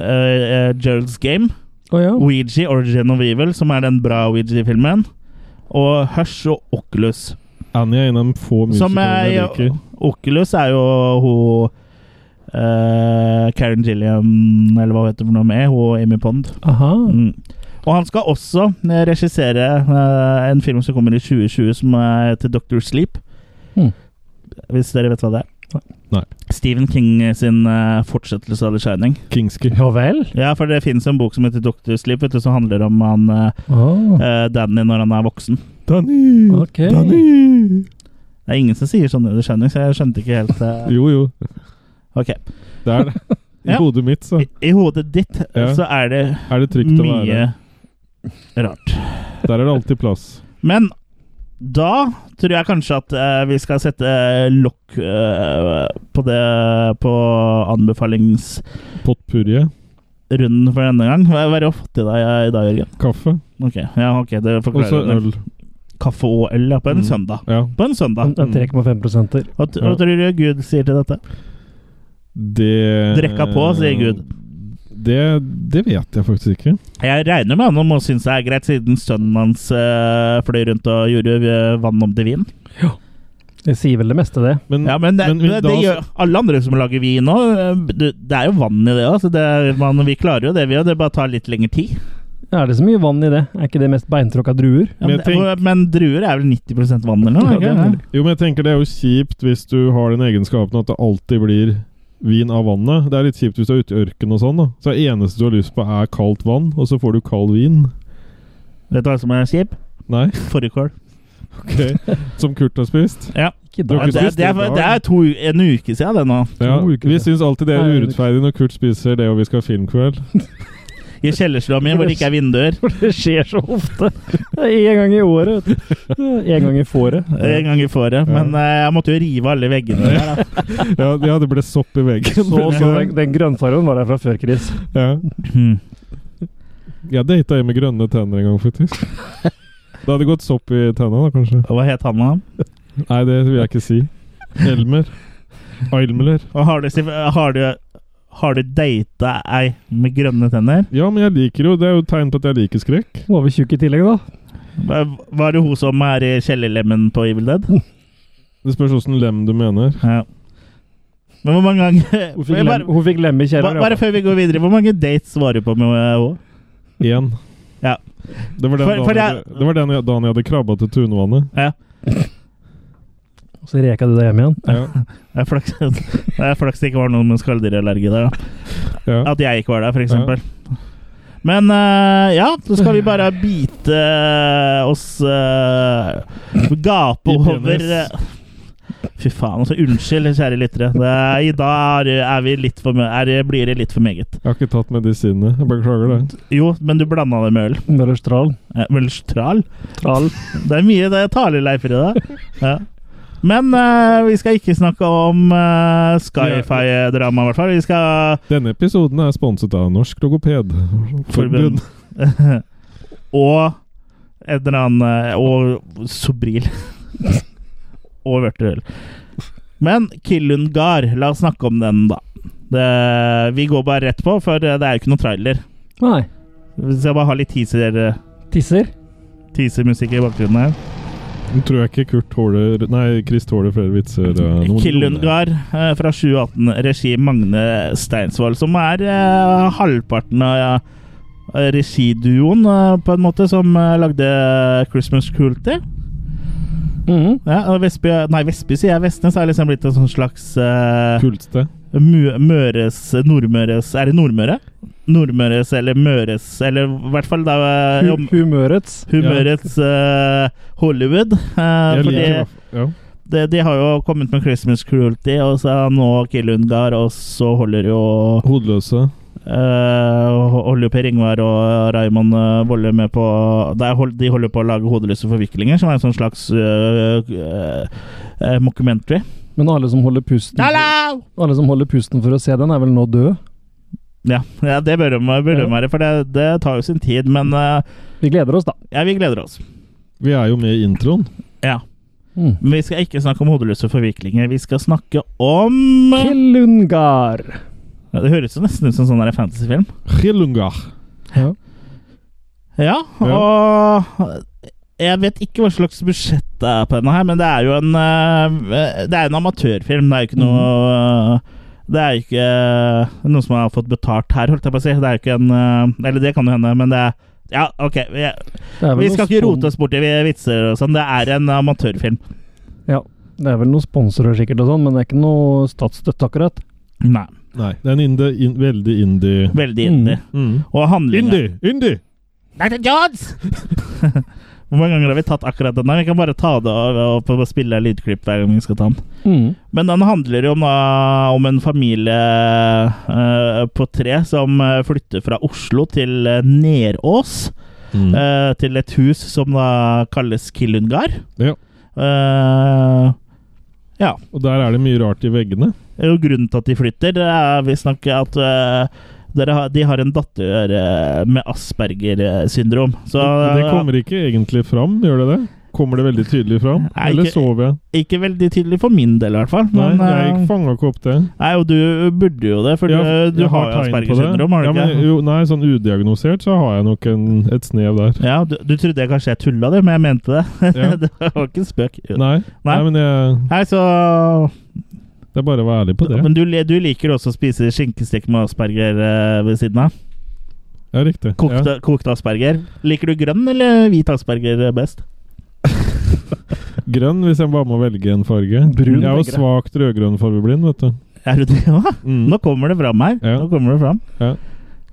eh, Gerald's Game,
Å ja.
Ouija, Origin of Evil, som er den bra Ouija-filmen, og Hush og Oculus.
Annie er en av de få
Som
musikalene jeg
er-
liker.
Oculus er jo hun eh, Karen Gilliam, eller hva hun heter for noe med, hun og Amy Pond.
Aha.
Mm. Og han skal også eh, regissere eh, en film som kommer i 2020, som heter Doctor Sleep.
Mm.
Hvis dere vet hva det er.
Nei.
Stephen King sin eh, fortsettelse av The Shining.
Kingski.
Ja vel?
Ja, for det finnes en bok som heter Doctor Sleep, vet du, som handler om han eh,
Ah.
eh, Danny når han er voksen.
Danny!
Mm.
Ok.
Danny!
Det er ingen som sier sånn i The Shining, så jeg skjønte ikke helt eh.
Jo, jo.
Ok.
Det er det. I
Ja.
hodet mitt så
I, I hodet ditt eh,
Ja.
så er det
er det trygt å være.
mye rart.
Der er det alltid plass.
Men da tror jeg kanskje at eh, vi skal sette lokk eh, på det på anbefalingsrunden
Potpurje.
for denne gang. Hva hva er det å få til deg i dag, Jørgen?
Kaffe.
Ok, ja, ok, det
Og så
forklarer det.
øl.
Kaffe og øl ja, på en
Mm.
søndag.
Ja.
På en søndag.
En- en 3,5 prosenter.
Hva, t- hva
Ja.
tror du Gud sier til dette?
Det
Drekka på, sier Gud.
Det, det vet jeg faktisk ikke.
Jeg regner med han om å synes det er greit, siden sønnen hans eh, fløy rundt og gjorde eh, vann om til vin.
Det sier vel det meste, det.
Men,
Ja, men det,
men vi-
det,
da-
det gjør alle andre som lager vin òg. Det det er jo vann i det òg, så det, er- man, vi klarer jo det, vi òg. Det bare tar litt lengre tid.
Er det så mye vann i det? Er ikke det mest beintråkka druer?
Ja,
Men
men,
jeg tenk-
hvor- men druer er vel 90 vann eller noe?
Ja, det er
ikke?
mulig.
Jo, men jeg tenker det er jo kjipt hvis du har den egenskapen at det alltid blir vin av vannet. Det er litt kjipt hvis du er ute i ørken og sånn, da. Så det eneste du har lyst på er kaldt vann, og så får du kald vin.
Vet du hva som er kjip?
Nei,
Fårikål.
ok. Som Kurt har spist.
Ikke
Du har
Det, det,
ikke spist
det, er,
det i dag.
det er to, en uke siden det nå.
Ja,
To uker
vi
siden.
syns alltid det er
Nei,
urettferdig når Kurt spiser det og vi skal ha filmkveld.
I kjellerstua mi hvor det ikke er vinduer.
For det skjer så ofte. Det er Én gang i året. vet du. Én gang i fåret.
En gang i fåret. Men eh, jeg måtte jo rive alle veggene der. da.
Ja, ja, det ble sopp i veggen.
Så, så den, den grønnfargen var der fra før, Chris.
Ja.
Hmm.
Jeg data ei med grønne tenner en gang, faktisk. Det hadde gått sopp i tenna, da, kanskje.
Og Hva het han da?
Nei, det vil jeg ikke si. Elmer. Eilmler.
Og har du, har du, har du data ei med grønne tenner?
Ja, men jeg liker jo Det er jo et tegn på at jeg liker skrekk.
Hun var vel tjukk i tillegg, da.
Hva- Var det hun som er i kjellerlemmen på Evil Dead?
Det spørs åssen lem du mener.
Ja. Men hvor mange ganger
Hun fikk,
Jeg
lem,
bare,
hun fikk lem i
ba-
kjelleren. i
bare
hvert fall.
før vi går videre, hvor mange dates var du på med henne?
Én.
Ja.
Det var den,
For- for
dagen, jeg,
jeg-
det var den jeg- dagen jeg hadde krabba til Tunvannet.
Så reka du deg hjem igjen.
Ja.
Det er flaks det er flaks det ikke var noen med skalldyrallergi der. da.
Ja.
At jeg ikke var der, for eksempel. Men eh, ja, så skal vi bare bite oss eh, Gape
I penis.
over eh, Fy faen, altså. Unnskyld, kjære lyttere. Det er, I dag er, er vi litt for, mø- er, blir det litt for meget.
Jeg har ikke tatt medisinene. Jeg beklager det.
Jo, men du blanda det med øl.
Møllers tral.
Eh, Mølstral?
Tral.
Det er mye det taleleifer i det. Ja. Men eh, vi skal ikke snakke om uh, skyfi-drama, i hvert fall. Vi skal
Denne episoden er sponset av Norsk Logoped.
Forbund. og en eller annen eh, Og Sobril. og vørterøl. Men Kyllungard, la oss snakke om den, da. Det, vi går bare rett på, for eh, det er jo ikke noen trailer.
Nei.
Vi skal bare ha litt teaser- eh,
Tisser.
teaser-musikk i bakgrunnen her.
Nå tror jeg ikke Kurt tåler Nei, Chris tåler flere vitser. eh, noen-
Killundgar eh, fra 2018, regi Magne Steinsvold, som er eh, halvparten av ja, regiduoen, eh, på en måte, som eh, lagde Christmas Cruelty.
Mhm.
Ja, og Vestby, nei, Vestby sier jeg. Vestnes er liksom blitt en sånn slags eh,
Kultsted.
Mø- Møres Nordmøres Er det Nordmøre? Nordmøres eller Møres, eller i hvert fall da eh,
Hu- Humørets.
Humørets eh, Hollywood. eh,
Jeg
fordi-
liker det. Ja.
de, de har jo kommet med Christmas Cruelty, og så nå Killundgar, og så holder jo
Hodeløse.
eh, Holder jo Per Ingvar og Raymond eh, Volle med på der hold, De holder på å lage Hodeløse forviklinger, som er en sånn slags eh, eh, mockumentary.
Men alle som holder pusten
Hallo!
Alle som holder pusten for å se den, er vel nå død?
Ja, ja det bør de bør de være, for det, det tar jo sin tid. Men eh,
Vi gleder oss, da.
ja, vi gleder oss.
Vi er jo med i introen.
Ja.
Mm.
Men vi skal ikke snakke om hodeløse forviklinger. Vi skal snakke om
Kilungar.
ja, Det høres jo nesten ut som en sånn der fantasyfilm.
Chilungar.
Ja.
Ja, og jeg vet ikke hva slags budsjett det er på denne her, men det er jo en eh, Det er en amatørfilm. Det er jo ikke noe Det er jo ikke eh, noen som har fått betalt her, holdt jeg på å si. Det er jo ikke en eh, Eller det kan jo hende, men det er Ja, OK. Vi,
Det er sånn- vel
vi
noe
skal ikke
spon-
rote oss borti vitser og sånn. Det er en amatørfilm.
Ja, det er vel noen sponsorer sikkert og sånn, men det er ikke noe statsstøtte akkurat.
Nei.
Nei, det er en indie, in, veldig indie.
Veldig indie.
Mm.
Og handlinga
Indie! Indie!
Dr. Jones! Hvor mange ganger har vi tatt akkurat den? her? Vi kan bare ta det og, og, og spille lydklipp hver gang vi skal ta den.
Mm.
Men den handler jo om, da, om en familie eh, på tre som eh, flytter fra Oslo til eh, Nerås.
Mm.
eh, til et hus som da kalles Killungar.
Ja.
Eh, ja.
Og der er det mye rart i veggene.
Og grunnen til at de flytter, det er visstnok at eh, dere har, de har en datter eh, med Asperger eh, syndrom. Så eh,
det kommer ikke egentlig fram, gjør det det? Kommer det veldig tydelig fram?
Nei,
Eller
ikke-
sov jeg?
ikke veldig tydelig for min del, i hvert fall.
Nei,
Men,
jeg
eh,
fanga ikke opp det.
nei, og du burde jo det, for
Jeg-
du, du
jeg
har jo
tegn på det.
Asperger syndrom, har du
ja,
ikke?
men, jo, nei, sånn udiagnosert så har jeg nok en, et snev der.
Ja, du, du trodde jeg kanskje jeg tulla det, men jeg mente det.
Ja.
det var ikke en spøk.
Nei, nei.
Nei.
men jeg,
Nei, så
det er bare å være ærlig på det.
Men du, li- du liker også å spise skinkestek med asperger eh, ved siden av?
Ja, riktig. Ja.
Kokte, kokt asperger. Liker du grønn eller hvit asperger eh, best?
Grønn, hvis jeg bare må velge en farge.
Brun
jeg er jo
velger jeg.
svakt rødgrønn fargeblind, vet du.
Er du det òg?
Mm.
Nå kommer det fram her.
Ja.
Nå kommer det fram.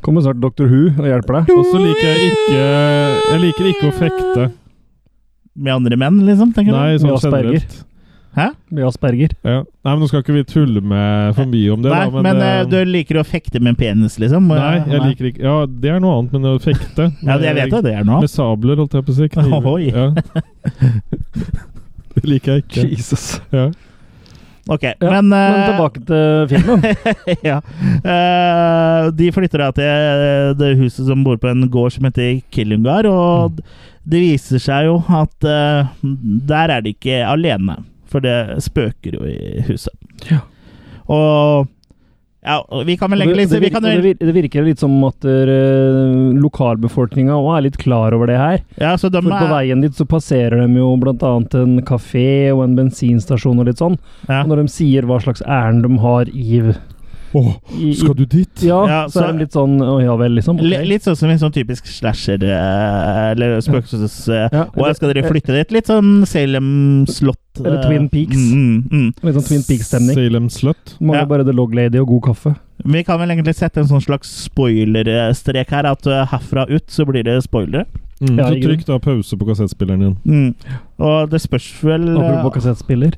Kommer snart Dr. Who og hjelper deg.
Og så liker jeg ikke Jeg liker ikke å fekte.
Med andre menn, liksom? tenker
Nei,
du?
sånn
Med asperger.
generelt.
Med asperger.
Ja. Nei, men nå skal ikke vi tulle med for mye om det,
Nei,
da.
men eh,
eh,
du liker å fekte med en penis, liksom?
Nei, jeg liker ikke Ja, det er noe annet, men å fekte
Ja, det- jeg vet det. Det er noe.
Med sabler, holdt jeg på å si. Kniver.
Ohoi.
Ja. Det liker jeg ikke.
Jesus.
Ja.
Ok,
Ja,
men,
Men
eh,
tilbake til filmen.
ja. Eh, de flytter da til eh, det huset som bor på en gård som heter Killungar,
Mm.
og det viser seg jo at eh, der er de ikke alene, for det spøker jo i huset.
Ja.
Og ja, og vi kan vel legge
det,
litt
det,
vi kan,
virker, det,
vel-
vir- det virker litt som at uh, lokalbefolkninga òg er litt klar over det her.
Ja, så de
For på
er
veien dit så passerer de jo blant annet en kafé og en bensinstasjon og litt sånn.
ja.
Og når de sier hva slags ærend de har i,
Åh,
i, i
skal du dit?
ja,
Ja,
så
så-
er de litt sånn Å ja vel, liksom. ok.
Li- Litt sånn som en sånn typisk slasher eh, eller spøkelses... eh,
Ja,
og jeg skal dere flytte dit? Litt sånn Salem slott.
Eller
eh,
Twin Peaks.
Mm, mm, mm.
Litt sånn Twin Peaks-stemning.
Salem Slut.
Mangler
Ja.
bare The Log Lady og god kaffe.
Vi kan vel egentlig sette en sånn slags spoilerstrek her, at eh, herfra ut så blir det spoilere.
Mm.
Ja,
så
i grunn.
trykk da pause på kassettspilleren din.
Og det spørs vel eh,
Apropos kassettspiller.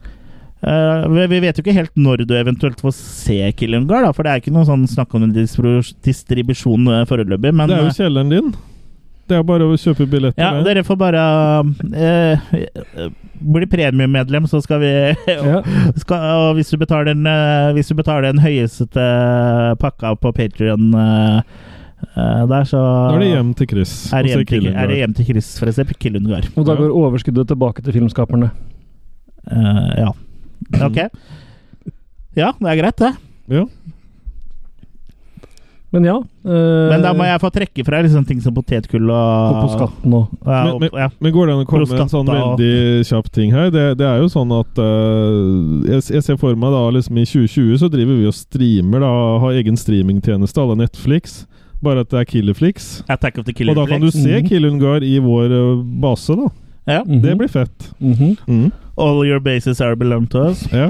eh, vi- Vi vet jo ikke helt når du eventuelt får se Killengar, da, for det er ikke noe sånn snakk om en distribusjon- distribusjon eh, foreløpig, men
det
eh,
er jo kjelleren din. Det er bare å kjøpe billetter.
ja,
der.
dere får bare eh, eh, Bli premiemedlem, så skal vi
Ja.
skal, Og hvis du betaler en, eh, hvis du betaler den høyeste pakka på Patrion der, så
Da er det hjem til Chris.
Er
og
det
se
hjem til,
Killing
er det
Guard.
hjem til Chris, for eksempel? Killungar.
Og da
Ja.
går overskuddet tilbake til filmskaperne.
Eh, ja.
Mm.
Ok. Ja, det er greit, det.
Ja.
Men ja. eh,
Men da må jeg få trekke fra liksom ting som potetgull og
gå på skatten og
Ja,
Men-
og-
men-
ja.
Men går det an å komme med en sånn
Prostata og-
veldig kjapp ting her? Det, det er jo sånn at eh, jeg, jeg ser for meg da liksom i 2020 så driver vi og streamer, da. Har egen streamingtjeneste à la Netflix. Bare at det er Killerflix.
Attack of the Killer
Og da kan du
Flex.
se
Mhm.
Killungar i vår eh, base, da.
ja.
Mhm.
Det blir fett.
Mhm.
Mm.
All your bases are belong to us.
Ja.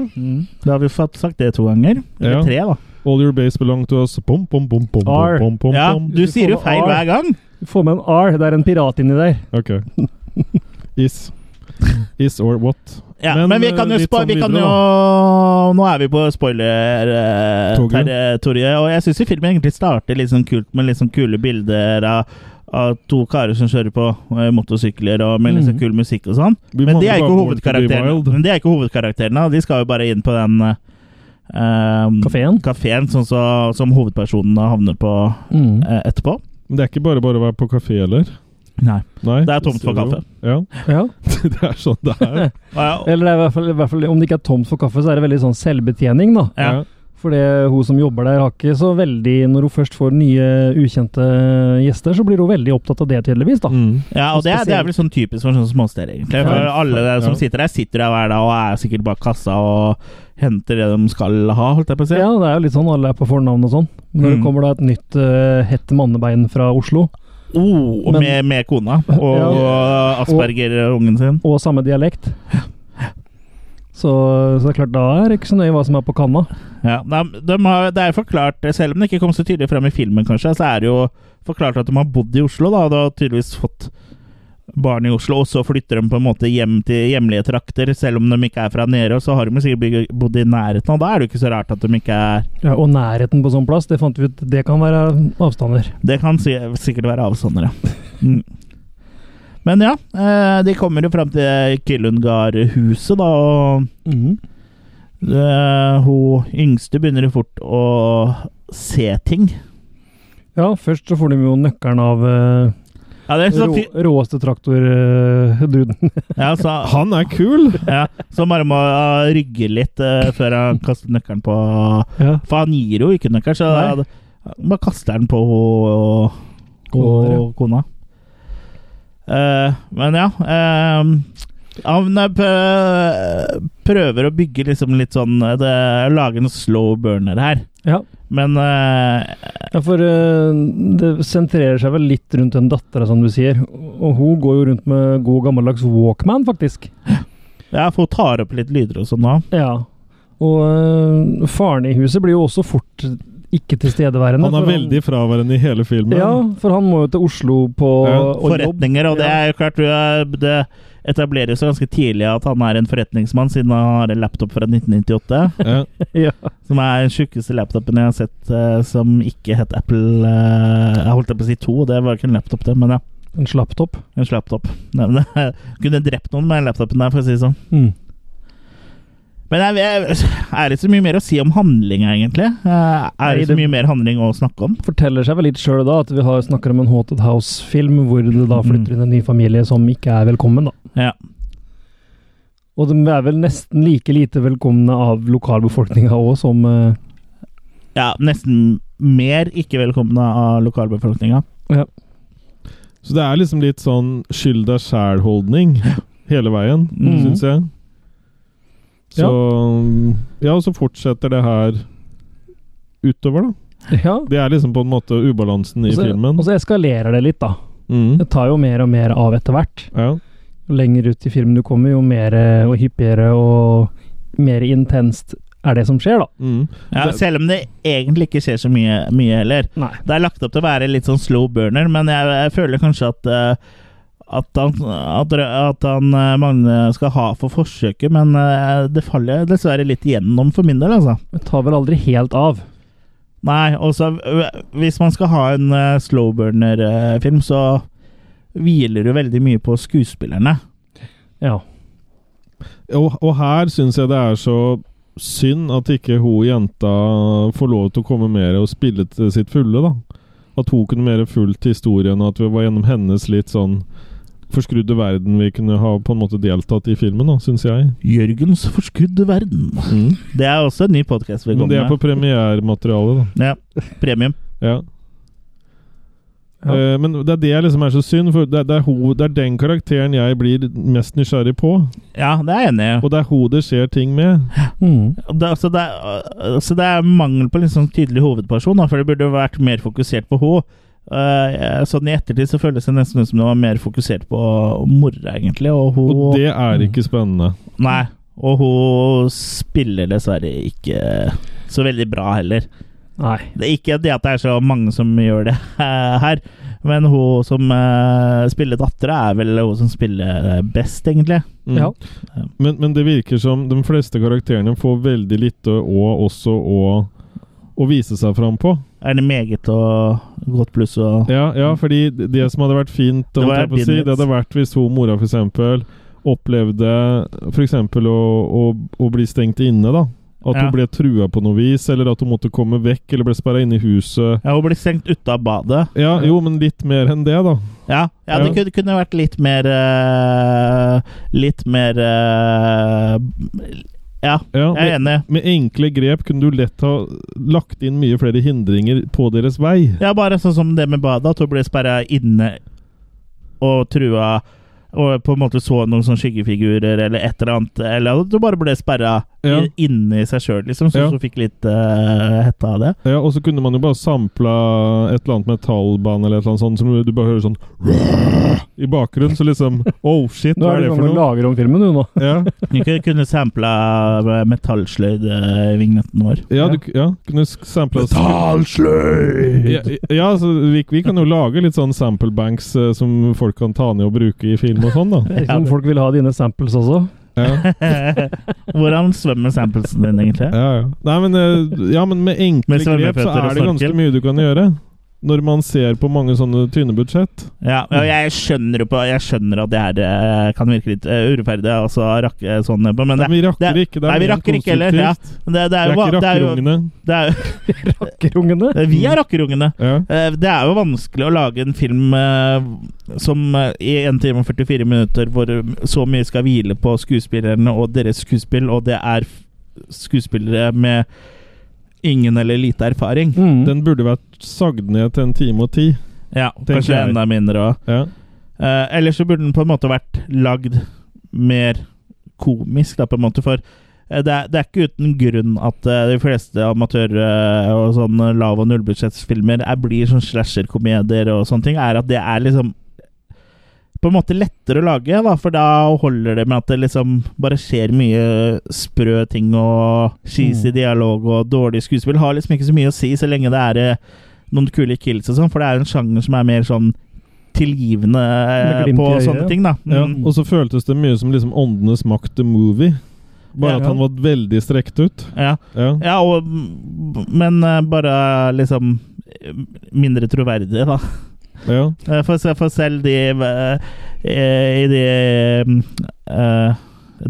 Da har vi fått sagt det to ganger. Eller
Ja.
tre, da.
All your base belong to us. Pom, pom, pom, pom,
R.
pom, pom, pom,
Ja,
pom.
du sier jo feil hver gang!
Få med en R. Det er en pirat inni der.
Ok. Is. Is or what?
Ja, men,
Men,
vi kan jo
eh, litt
spo-
sånn
Vi kan
videre,
jo Nå er vi på
Toget.
spoiler-territoriet, og jeg syns filmen egentlig starter litt sånn kult med litt sånn kule bilder av, av to karer som kjører på eh, motorsykler, og med litt sånn
Mhm.
kul musikk og sånn.
Mm. Vi
Men
mangler
de er ikke
bare Born to be
hovedkarakterene.
Wild.
Men de er ikke hovedkarakterene, og de skal jo bare inn på den eh, um,
Kafeen?
kafeen sånn så, som hovedpersonene havner på
Mm.
eh, etterpå.
Men det er ikke bare bare å være på kafé, eller?
Nei.
Nei,
Det er tomt for
ser du jo.
kaffe.
Ja,
Ja.
det er sånn det er. Eh,
Ja,
Eller det er i hvert, fall, i hvert fall, om det ikke er tomt for kaffe, så er det veldig sånn selvbetjening, da.
ja.
eh,
For det, hun som jobber der, har ikke så veldig Når hun først får nye, ukjente gjester, så blir hun veldig opptatt av det, tydeligvis. da.
Mm.
Ja, og det er, det er vel sånn typisk for sånne småsteder, egentlig. For
Ja.
alle der som
Ja.
sitter der, sitter der hver dag og er sikkert bak kassa og henter det de skal ha, holdt jeg på å si.
Ja, det er jo litt sånn alle er på fornavn og sånn. Når det
Mm.
kommer da et nytt eh, hett mannebein fra Oslo,
Oh, og med,
Men-
med kona og
Ja.
og Asperger-ungen sin.
og samme dialekt så, så det er klart, da er det ikke så nøye hva som er på kanna.
Ja, de, de har, det er forklart, selv om det ikke kom så tydelig frem i filmen, kanskje, så er det jo forklart at de har bodd i Oslo, da, og da har tydeligvis fått barn i Oslo, og så flytter de på en måte hjem til hjemlige trakter, selv om de ikke er fra Nere, og så har de jo sikkert bygd- bodd i nærheten, og da er det jo ikke så rart at de ikke er
Ja, og nærheten på sånn plass, det fant vi ut, det kan være avstander.
Det kan si, sikkert være avstander, ja. Mm. Men ja, eh, de kommer jo frem til Kyllungard-huset, da, og eh, hun yngste begynner jo fort å se ting.
Ja, først så får de jo nøkkelen av eh,
Ja, det er så
rå,
fint.
råeste eh, traktor-duden.
Ja, så,
Han er kul!
Ja, så bare må uh, rygge litt eh, før han kaster nøkkelen på
ja.
For han gir jo ikke nøkkelen, så
Nei.
han bare kaster den på ho- og,
Kona, ja.
og kona. Eh, men ja eh, Han eh, pø- prøver å bygge liksom litt sånn eh, det, Lage en slow burner her.
Ja.
Men eh,
Ja, for eh, det sentrerer seg vel litt rundt den dattera, som du sier. Og hun går jo rundt med god gammeldags Walkman, faktisk.
ja, for hun tar opp litt lyder og sånn nå.
Ja. Og eh, faren i huset blir jo også fort ikke tilstedeværende.
Han er
sånn-
for
veldig fraværende i hele filmen.
Ja, for han må jo til Oslo på
Ja,
og jobb.
Forretninger, og det
Ja.
er jo klart eh, Det etableres jo ganske tidlig at han er en forretningsmann, siden han har en laptop fra 1998.
Ja.
Ja.
Som er den tjukkeste laptopen jeg har sett eh, som ikke het Apple eh, Jeg holdt på å si to, det var ikke en laptop, det, men ja.
En slapptopp.
En laptop. Nei, men det- Kunne drept noen med den laptopen der, for å si det sånn.
Mm.
Men jeg, jeg, er det så mye mer å si om handlinga, egentlig? Eh, Er det
Nei,
så
det-
mye mer handling å snakke om?
Forteller seg vel litt sjøl da at vi har snakker om en Haunted House-film hvor det
Mm.
da flytter inn en ny familie som ikke er velkommen, da.
Ja.
Og de er vel nesten like lite velkomne av lokalbefolkninga òg som eh,
ja nesten mer ikke velkomne av lokalbefolkninga.
Så det er liksom litt sånn skyld deg sjæl-holdning hele veien,
Mm.
syns jeg. Så ja. og så fortsetter det her utover, da.
Ja.
Det er liksom på en måte ubalansen i
Og så-
filmen.
Og så eskalerer det litt, da.
Mm.
Det tar jo mer og mer av etter hvert.
Ja.
Jo lenger ut i filmen du kommer, jo mer eh, og hyppigere og mer intenst er det som skjer, da.
Mm.
Ja,
Det-
selv om det egentlig ikke skjer så mye, mye heller.
Nei.
Det er lagt opp til å være litt sånn slow burner, men jeg, jeg føler kanskje at eh, at han, at, at han eh, Magne skal ha for forsøket, men eh, det faller dessverre litt gjennom for min del, altså.
Det tar vel aldri helt av.
Nei, også eh, hvis man skal ha en eh, slow burner-film, så hviler du veldig mye på skuespillerne.
Ja.
Og, og her syns jeg det er så synd at ikke hun jenta får lov til å komme mer og spille til sitt fulle, da. At hun kunne mer fulgt historien, og at vi var gjennom hennes litt sånn forskrudde verden vi kunne ha på en måte deltatt i filmen, da, syns jeg.
Jørgens forskudde verden. Det er også en ny podkast vi
Men det
kommer
er på
med.
premierematerialet, da.
Ja, premium.
Ja.
Ja.
Eh, men det er det jeg liksom er så synd, for det, det, er hun, det er den karakteren jeg blir mest nysgjerrig på.
Ja, det er jeg enig i.
Og det er hun det skjer ting med.
Mm.
det, så, det, er- øh, så det er mangel på liksom tydelig hovedperson, da, for det burde jo vært mer fokusert på henne. Eh, sånn I ettertid så føles det nesten ut som det var mer fokusert på øh, mora, egentlig. Og hun,
Og det er ikke spennende.
Nei, og hun spiller dessverre ikke øh, så veldig bra heller.
Nei.
Det er ikke det at det er så mange som gjør det eh, her, men hun som eh, spiller dattera, er vel hun som spiller best, egentlig.
Mm.
Ja.
Men, men det virker som de fleste karakterene får veldig lite og også å, å vise seg fram på.
Er det meget og godt pluss og
Ja, ja fordi det som hadde vært fint,
Det
det,
var
på å si,
din
det hadde vært hvis hun mora f.eks. opplevde f.eks. Å, å, å bli stengt inne, da. At
Ja.
hun ble trua på noe vis, eller at hun måtte komme vekk, eller ble sperra inne i huset.
Ja, hun blir stengt ute av badet.
Ja, jo, men litt mer enn det, da.
Ja, ja det
Ja.
kunne, kunne vært litt mer eh, Litt mer eh, Ja,
Ja,
jeg er
med,
enig.
med enkle grep kunne du lett ha lagt inn mye flere hindringer på deres vei.
Ja, bare sånn som det med badet, at hun ble sperra inne og trua og på en måte så noen sånne skyggefigurer eller et eller annet. Eller at hun bare ble sperra
Ja.
i- inni seg sjøl, liksom, så
Ja.
hun fikk litt eh, hetta av det.
Ja, og så kunne man jo bare sampla et eller annet metallband eller et eller annet sånt, som du bare hører sånn i bakgrunnen, så liksom Oh shit,
Nå
hva er
er sånn du
det
sånn
i gang
for
med å
noe?
lage om filmen, du, nå.
Ja,
Du kunne- kunne sampla eh, metallsløyd-vignetten vår.
ja, du, ja kunne sk- sampla
Metallsløyd!
ja, ja, så vi, vi kan jo lage litt sånn sample banks eh, som folk kan ta ned og bruke i film og sånn, da.
Det er ikke om folk vil ha dine samples også.
Ja,
Hvordan svømmer samplesen din, egentlig?
ja, ja. Nei, men, eh, ja, men med enkle
Med
grep så
svømmeføtter og
er det ganske
snorkel.
mye du kan gjøre. Når man ser på mange sånne tynne budsjett.
Ja, og jeg skjønner, jo på, jeg skjønner at det her eh, kan virke litt eh, urettferdig, og så rakke sånn på, men det,
Men vi rakker
det-
ikke. Det
nei,
er
vi
mer
rakker ikke heller. Ja.
konstruktivt.
Men det, det
Det
er
er
jo
ikke
det er jo-
rakkerungene.
det er jo-
Rakkerungene.
Vi er rakkerungene.
Ja.
Eh, Det er jo vanskelig å lage en film eh, som eh, i 1 time og 44 minutter hvor så mye skal hvile på skuespillerne og deres skuespill, og det er f- skuespillere med ingen eller lite erfaring.
Mm.
Den burde vært sagd ned til en time og ti.
Ja,
Tenker
kanskje
jeg.
enda mindre òg.
Ja.
Eh, Eller så burde den på en måte vært lagd mer komisk, da, på en måte, for eh, det er, det er ikke uten grunn at eh, de fleste amatør- eh, og sånn lav- og nullbudsjettsfilmer er- blir sånn slasherkomedier og sånne ting, er at det er liksom på en måte lettere å lage, da, for da holder det med at det liksom bare skjer mye sprø ting og cheesy
Mm.
dialog og dårlig skuespill. Har liksom ikke så mye å si så lenge det er eh, noen kule kills og sånn, for det er jo en sjanger som er mer sånn tilgivende eh,
Med glimt i
på
øyet.
sånne ting, da.
Ja.
Mm.
Og så føltes det mye som liksom Åndenes makt the movie.
Ja.
Bare at han var veldig strekt ut.
Ja.
Ja.
ja, og Men eh, bare liksom eh, mindre troverdig, da.
Ja.
Eh, For, se- for selv de eh, eh, I de eh,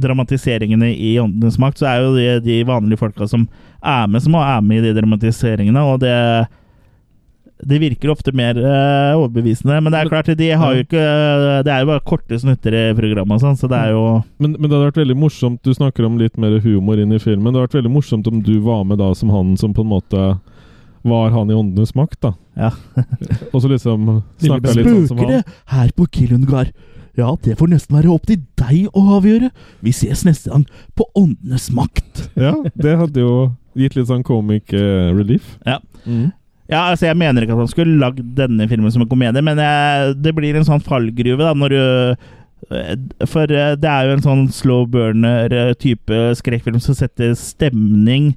dramatiseringene i Åndenes makt, så er jo de, de vanlige folka som er med, som er med i de dramatiseringene, og det det virker ofte mer eh, overbevisende, men det er klart de har jo ikke eh, Det er jo bare korte snutter i programmet, og sånn, så det er jo
Men, men det hadde vært veldig morsomt Du snakker om litt mer humor inn i filmen. Det hadde vært veldig morsomt om du var med da som han som på en måte var han i Åndenes makt, da.
Ja.
og så liksom snakka litt sånn som han.
her på Killundgar. Ja, det får nesten være opp til deg å avgjøre. Vi ses neste gang på Åndenes makt.
Ja, det hadde jo gitt litt sånn comic eh, relief.
Ja.
Mm.
Ja, altså Jeg mener ikke at han skulle lagd denne filmen som en komedie, men jeg, det blir en sånn fallgruve da, når du For eh, det er jo en sånn slow burner-type skrekkfilm som setter stemning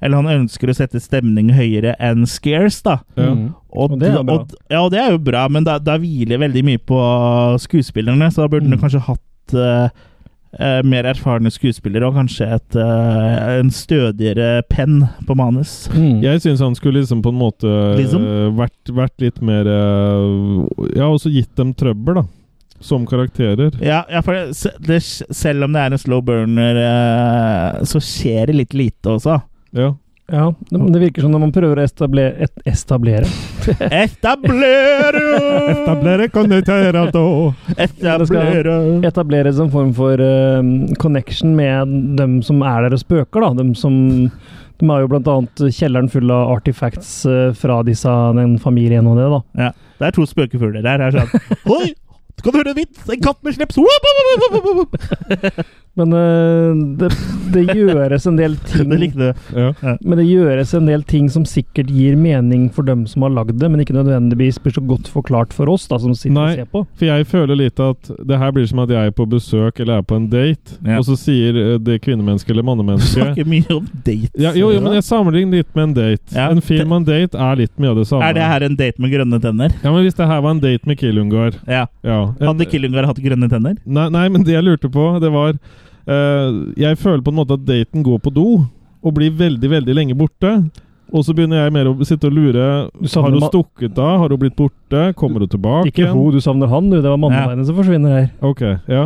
Eller han ønsker å sette stemning høyere enn scares, da.
Ja.
Mm. Og det er bra.
og- ja, og det er jo bra, men da, da hviler veldig mye på skuespillerne, så da burde
Mm.
du kanskje hatt eh, eh, mer erfarne skuespillere og kanskje et, eh, en stødigere penn på manus.
Mm.
Jeg syns han skulle liksom på en måte
Liksom?
eh, vært, vært litt mer eh, Ja, også gitt dem trøbbel, da. Som karakterer.
Ja, ja for det, se- det, selv om det er en slow burner, eh, så skjer det litt lite også.
Ja.
Ja, det, men det virker som når man prøver å establere, et, establere.
Etablere! Etablere!
etablere en form for eh, connection med dem som er der og spøker. Da. Dem som, de har jo bl.a. kjelleren full av artifacts eh, fra disse, den familien og det. da.
Det er to spøkefugler der. Her, sånn. Oi! Kan du høre en vits? En katt med slips! Wop, wop, wop, wop, wop, wop.
Men eh, det, det gjøres en del
Det
ting
likte du.
ja.
Men det gjøres en del ting som sikkert gir mening for dem som har lagd det, men ikke nødvendigvis blir så godt forklart for oss da, som sitter
Nei.
og ser på.
For jeg føler litt at det her blir som at jeg er på besøk eller er på en date,
Ja.
og så sier eh, det kvinnemennesket eller
Du
mannemennesket
snakker mye om dates.
ja, Jo, jo, men jeg sammenligner litt med en date.
Ja.
En film og en date er litt mye av det samme.
Er det her en date med grønne tenner?
Ja, men Hvis det her var en date med Killungar
Ja.
ja. En-
Hadde Killungar hatt grønne tenner?
Nei, nei, men det jeg lurte på, det var eh, Jeg føler på en måte at daten går på do og blir veldig, veldig lenge borte. Og så begynner jeg mer å sitte og lure.
Du
Har
savner
hun
Sånn ma-
stukket av? Har hun blitt borte? Kommer hun tilbake?
Ikke
igjen?
ho, du savner han, du. Det var manneveiene som forsvinner her.
Ok, ja.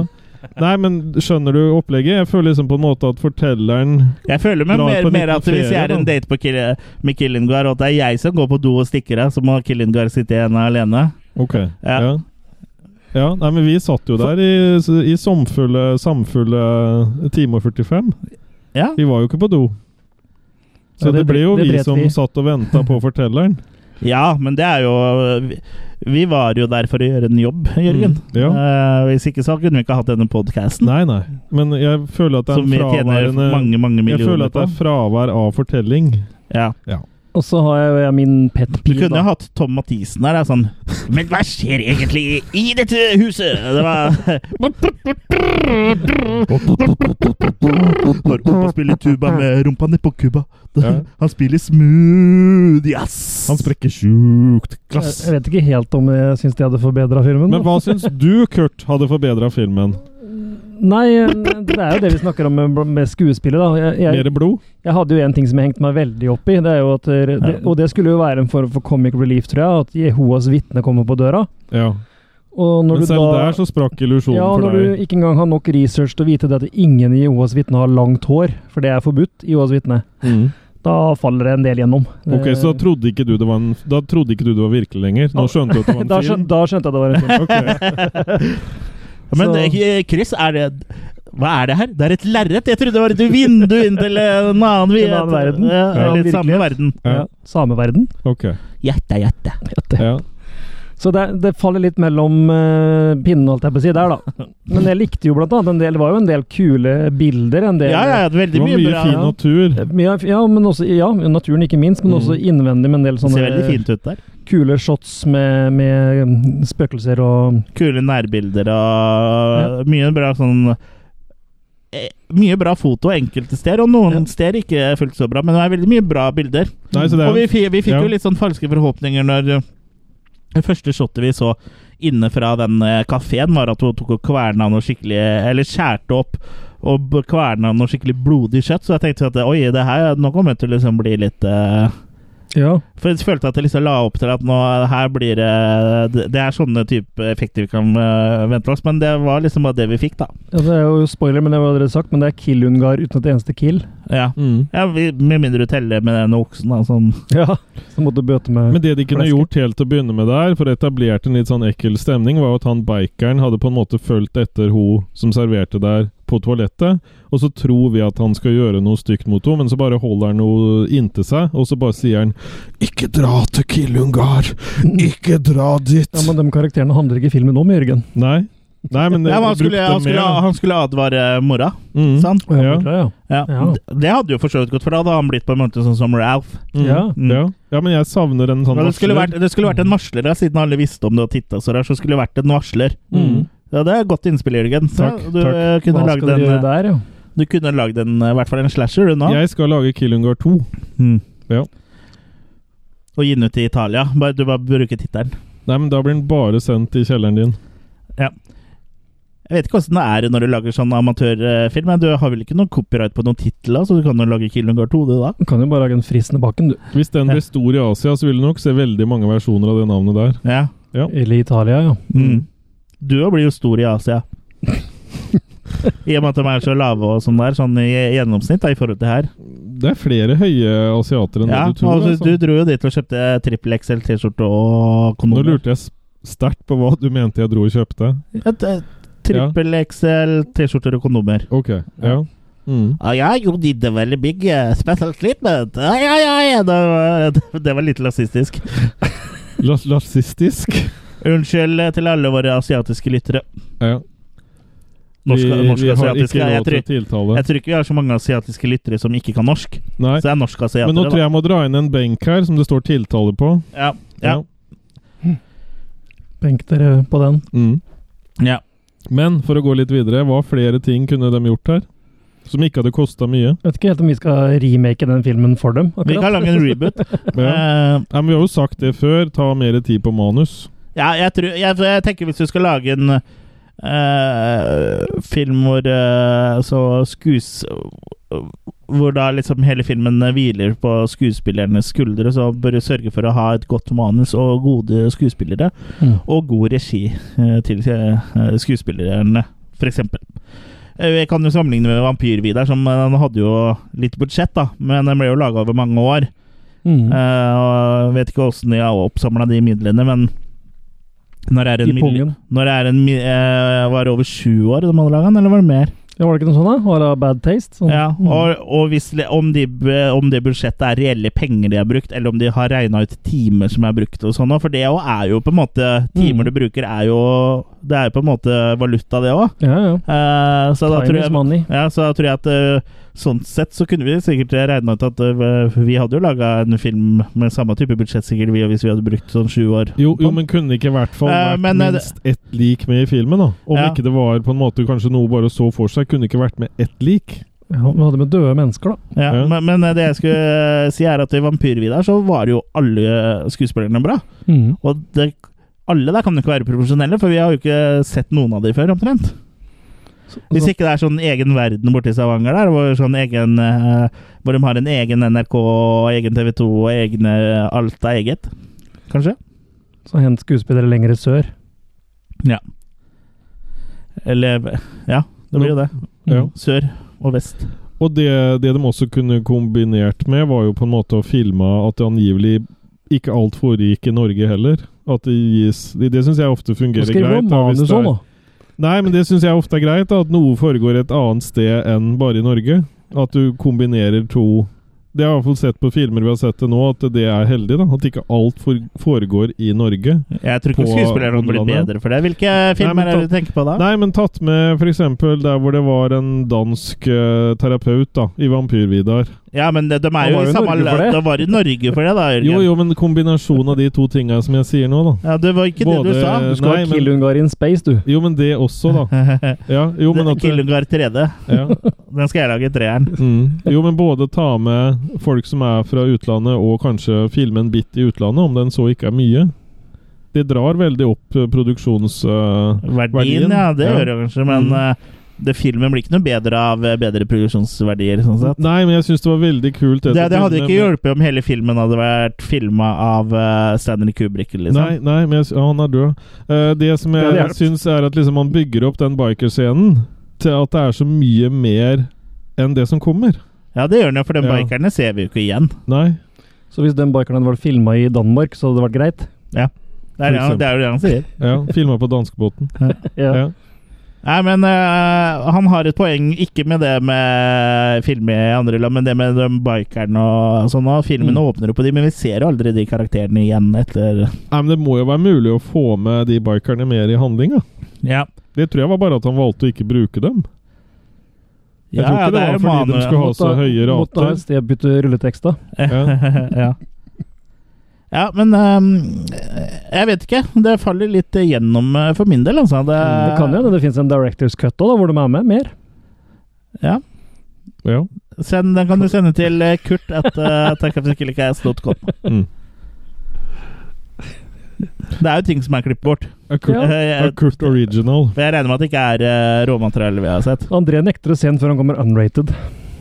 Nei, men skjønner du opplegget? Jeg føler liksom på en måte at fortelleren
Jeg føler meg
Drar
mer,
på en
mer at
liten
hvis jeg
ferie,
er en
da.
date på Kil- med Killingar, og at det er jeg som går på do og stikker av, så må Killingar sitte igjen alene.
Ok.
Ja.
Ja. ja. nei, men vi satt jo der i, i samfulle, samfulle time og 45.
Ja.
Vi var jo ikke på do. Så
Ja,
det,
det
ble jo
ble- det
vi
ble
som
vi.
satt og venta på fortelleren.
ja, men det er jo vi- Vi var jo der for å gjøre en jobb, Jørgen.
Mm, ja.
Eh, hvis ikke så kunne vi ikke hatt denne podkasten,
Nei, nei. Men jeg føler at det er
som
en
vi tjener
fraværende
mange, mange
Jeg føler
millioner
at det
på.
er fravær av fortelling.
Ja.
Og så har jeg, jeg min pet
Du
peeve,
kunne jo
da.
hatt Tom Mathisen her, da, sånn Men hva skjer egentlig i dette huset? Det var Når Oppa spiller tuba med rumpa ned på kubba.
Ja.
Han spiller smooth, ass!
Han sprekker sjukt
Jeg,
glass.
jeg vet ikke helt om jeg syns de hadde forbedra filmen.
Men
da.
hva syns du, Kurt, hadde forbedra filmen?
Nei, eh, det er jo det vi snakker om med, med skuespillet, da. Jeg, jeg,
Mer blod?
Jeg hadde jo en ting som jeg hengte meg veldig opp i. Det er jo at, eh, det,
Ja.
og det skulle jo være en form for comic relief, tror jeg. At Jehovas vitne kommer på døra.
Ja.
Og når
Men
du
selv
da
der så sprakk illusjonen
ja,
for
når
deg.
du ikke engang har nok research til å vite det at ingen i Jehovas vitne har langt hår, for det er forbudt i Jehovas vitne,
Mm.
da faller det en del gjennom. Eh,
Ok, Så da trodde ikke du det var, en, da trodde ikke du det var virkelig lenger? Nå skjønte du at det var en
da,
film?
skjønte, da skjønte jeg det var en film.
Ja, Men
Så-
eh, Chris, er det Hva er det her? Det er et lerret! Jeg trodde det var et vindu inn til en annen, vi-
En annen verden.
Ja,
Ja,
eller
virkelighet.
samme verden.
Ja.
Ja. Sameverden.
Ok.
Hjerte, hjerte.
Vet du.
Ja.
Så det, det faller litt mellom eh, pinnen, holdt jeg på å si, der, da. Men jeg likte jo blant annet en del Det var jo en del kule bilder. En del,
Ja, ja, ja, veldig
Det var
mye,
mye
bra.
fin natur.
Ja, f- ja, men også, ja, naturen ikke minst, men
Mm.
også innvendig med en del
Det ser veldig
sånne
fint ut der.
kule shots med, med mm, spøkelser og
Kule nærbilder og mye bra sånn eh, mye bra foto enkelte steder, og noen
Ja.
steder ikke fullt så bra. Men det er veldig mye bra bilder.
Nei, så det
Og vi,
er
fi- vi fikk
ja.
jo litt sånn falske forhåpninger når eh, det første shotet vi så inne fra den kafeen, var at hun tok og kverna noe skikkelig Eller skjærte opp og b- kverna noe skikkelig blodig kjøtt. Så jeg tenkte at oi, det her, nå kommer det til å liksom bli litt eh,
Ja.
For jeg følte at jeg liksom la opp til at nå her blir det Det det er sånne type effekter vi kan eh, vente oss, men det var liksom bare det vi fikk, da.
Det er jo spoiler, men det var allerede sagt, men det er kill-ungar uten et eneste kill.
Ja.
mm.
Ja, vi, Med mindre du teller med den oksen, da, sånn. som
Ja. Så måtte du bøte med
Men det de kunne
Fleske.
gjort helt til å begynne med der, for å etablert en litt sånn ekkel stemning, var jo at han bikeren hadde på en måte fulgt etter hun som serverte der, på toalettet. Og så tror vi at han skal gjøre noe stygt mot henne, men så bare holder han henne inntil seg, og så bare sier han 'Ikke dra til Killungar! Ikke dra dit!'
Ja, Men de karakterene handler ikke filmen om, Jørgen.
Nei. Nei, men det,
ja, men han, skulle,
brukte
han, skulle,
mer.
han skulle advare mora,
Mm.
sant?
Ja.
det tror jeg,
Ja.
Ja.
D- Det hadde jo for så vidt gått, for da hadde han blitt på en måte sånn som Ralph.
Mm.
Ja.
Ja. ja, men jeg savner en sånn
Men det, skulle
varsler.
vært, det skulle vært en varsler, da, siden alle visste om det og titta så der, så skulle det vært en varsler.
Mm.
Ja, det er godt innspill, Jørgen. Så
Takk,
du,
takk.
eh, Kunne
Hva
lagd
skal du gjøre
en, eh,
der, ja?
du kunne lagd en, eh, i hvert fall en slasher, du nå.
Jeg skal lage Killungar 2.
Mm.
Ja.
Og gi den ut i Italia. Bare, du bare bruker tittelen.
Nei, men da blir den bare sendt i kjelleren din.
Jeg vet ikke åssen det er når du lager sånn amatørfilm. men Du har vel ikke noen copyright på noen titler, så du kan jo lage Killungar 2, du da?
Du kan jo bare lage en fristende bakken, du.
Hvis den
Ja.
blir stor i Asia, så vil det nok se veldig mange versjoner av det navnet der.
Ja.
Eller Italia, ja.
Mm. Du òg blir jo stor i Asia. I og med at de er så lave og sånn der, sånn i i gjennomsnitt da, i forhold til her.
Det er flere høye asiater enn
Ja,
det du tror.
altså,
altså.
du dro jo dit og kjøpte trippel XL T-skjorte og
Nå
kondomer.
lurte jeg s- sterkt på hva du mente jeg dro og kjøpte.
Trippel XL T-skjorter og kondomer.
Ok, ja. Mm.
Ah, ja, you did a very big uh, special treatment. Ah, ja, ja, ja. Det, var, det var litt rasistisk.
Las Rasistisk.
Unnskyld eh, til alle våre asiatiske lyttere.
Ja.
Norsk, norsk
vi har
asiatiske.
ikke
Jeg
råd til
tror,
å tiltale.
jeg tror ikke vi har så mange asiatiske lyttere som ikke kan norsk.
Nei.
Så det er norsk asiatere,
Men nå tror jeg jeg må dra inn en benk her som det står tiltale på.
da. Ja, ja.
Benk dere på den.
Mm.
Ja.
Men for å gå litt videre, hva flere ting kunne de gjort her? Som ikke hadde kosta mye.
Vet ikke helt om vi skal remake den filmen for dem. akkurat.
Vi kan lage en reboot.
Ja.
Eh,
Nei, men vi har jo sagt det før, ta mer tid på manus.
ja, jeg, tror, jeg, for jeg tenker hvis du skal lage en eh, film hvor eh, så skues... Hvor da liksom hele filmen hviler på skuespillernes skuldre, så bør du sørge for å ha et godt manus og gode skuespillere.
Mm.
Og god regi eh, til eh, skuespillerne. for eksempel. Eh, Vi kan jo sammenligne med Vampyr-Vidar, som eh, den hadde jo litt budsjett, da, men den ble jo laga over mange år.
Mm.
Eh, og jeg vet ikke åssen de har oppsamla de midlene, men når er en
I
mil-
pungen.
når er en, mi- eh, Var det over sju år de hadde laga den, eller var det mer?
Ja, var det ikke noe sånt, da? Var det bad taste? Sånn.
Ja,
Mm.
og, og hvis, le- om, de, b- om det budsjettet er reelle penger de har brukt, eller om de har regna ut timer som er brukt og sånn, for det jo er jo på en måte Timer
Mm.
du bruker, er jo Det er jo på en måte valuta, det òg.
ja, ja.
så, da
Time
tror
is
jeg-
money.
ja, så da tror jeg at eh, sånn sett så kunne vi sikkert regna ut at eh, vi hadde jo laga en film med samme type budsjett sikkert vi, hvis vi hadde brukt sånn sju år.
Jo, jo, men kunne det ikke i hvert fall
Eh,
vært
men, eh,
minst ett lik med i filmen, da? Om
Ja.
ikke det var på en måte kanskje noe bare så for seg, kunne det ikke vært med ett lik?
Ja, vi hadde med døde mennesker, da.
Ja,
Ja.
Men, men det jeg skulle eh, si, er at i Vampyr-Vidar så var jo alle skuespillerne bra.
Mm.
Og det, alle der kan jo ikke være profesjonelle, for vi har jo ikke sett noen av de før, omtrent.
Så,
Hvis
Altså-
så,
ikke det er sånn egen verden borti Stavanger der, hvor, sånn egen, eh, hvor de har en egen NRK, og egen TV 2 og egne eh, Alt er eget, kanskje?
så hent skuespillere lenger sør.
Eller Ja, det blir jo det.
Mm.
Ja.
Sør og vest.
Og det, det de også kunne kombinert med, var jo på en måte å filme at det angivelig ikke alt foregikk i Norge heller. At det gis Det, det syns jeg ofte
Nå
fungerer
skriver
greit.
du
da, hvis
manus
det er-
òg, nå.
Nei, men det syns jeg ofte er greit. da, At noe foregår et annet sted enn bare i Norge. At du kombinerer to Det har jeg i hvert fall sett på filmer vi har sett det nå, at det er heldig. da, At ikke alt for- foregår i Norge.
Jeg tror ikke
På
skuespillerne hadde blitt
Omlandet.
bedre for det. Hvilke
men
filmer er det du tenker på da?
Nei, men tatt med f.eks. der hvor det var en dansk eh, terapeut da, i Vampyr-Vidar.
Ja, men de, de er jo
var
i
jo i
samme
Norge for det.
De var i Norge for det, da,
Jo,
Jørgen.
jo, men kombinasjonen av de to tinga som jeg sier nå, da.
Ja, det var ikke det
Både-
du sa.
Du skal
Nei,
ha
men-
Killungar in space, du.
Jo, men det også, da. Ja, jo, men at
Killungar 3D.
ja.
Den skal jeg lage i treeren.
mm. Jo, men både ta med folk som er fra utlandet, og kanskje filme en bit i utlandet, om den så ikke er mye. Det drar veldig opp eh, produksjons... eh,
Verdien,
Verdien,
ja, det
ja.
gjør det kanskje, men
Mm.
eh, det filmen blir ikke noe bedre av eh, bedre produksjonsverdier. sånn sett.
Nei, men jeg syns det var veldig kult.
Det, det hadde
men-
ikke hjulpet om hele filmen hadde vært filma av eh, Stanley Kubrick.
Nei,
liksom.
nei, men jeg, sy- ja, han er død. Eh, det som
Det
jeg
hadde hjulpet.
syns, er at liksom man bygger opp den bikerscenen til at det er så mye mer enn det som kommer.
Ja, det gjør den jo, for de
Ja.
bikerne ser vi jo ikke igjen.
Nei.
Så hvis den bikeren hadde vært filma i Danmark, så hadde det vært greit?
Det er, det han-
For eksempel.
det er jo det han sier.
Ja, Filma på danskebåten.
Ja.
Ja.
Nei, men eh, han har et poeng, ikke med det med film i andre land, men det med de bikerne og sånn. og Filmene
Mm.
åpner jo på de, men vi ser jo aldri de karakterene igjen etter
Nei, men Det må jo være mulig å få med de bikerne mer i handlinga.
Ja,
Det tror jeg var bare at han valgte å ikke bruke dem. Jeg tror ikke det
er
var
jo
fordi de
manu-
skulle ha så høye
Måtte ha
rater.
et sted å bytte rulletekst, da.
Ja.
ja. ja, men ehm, Jeg vet ikke. Det faller litt gjennom eh, for min del, altså. Det,
Mm,
Det kan jo hende det finnes en Directors Cut òg, hvor de er med mer.
Ja.
Send, den kan du sende til eh, Kurt at uh, takkapsykilikast.com.
Mm.
Det er jo ting som er klippet bort.
A Kurt,
Ja.
Eh,
a Kurt Original.
for jeg regner med at det ikke er eh, råmateriale vi har sett.
André nekter å se den før han kommer unrated.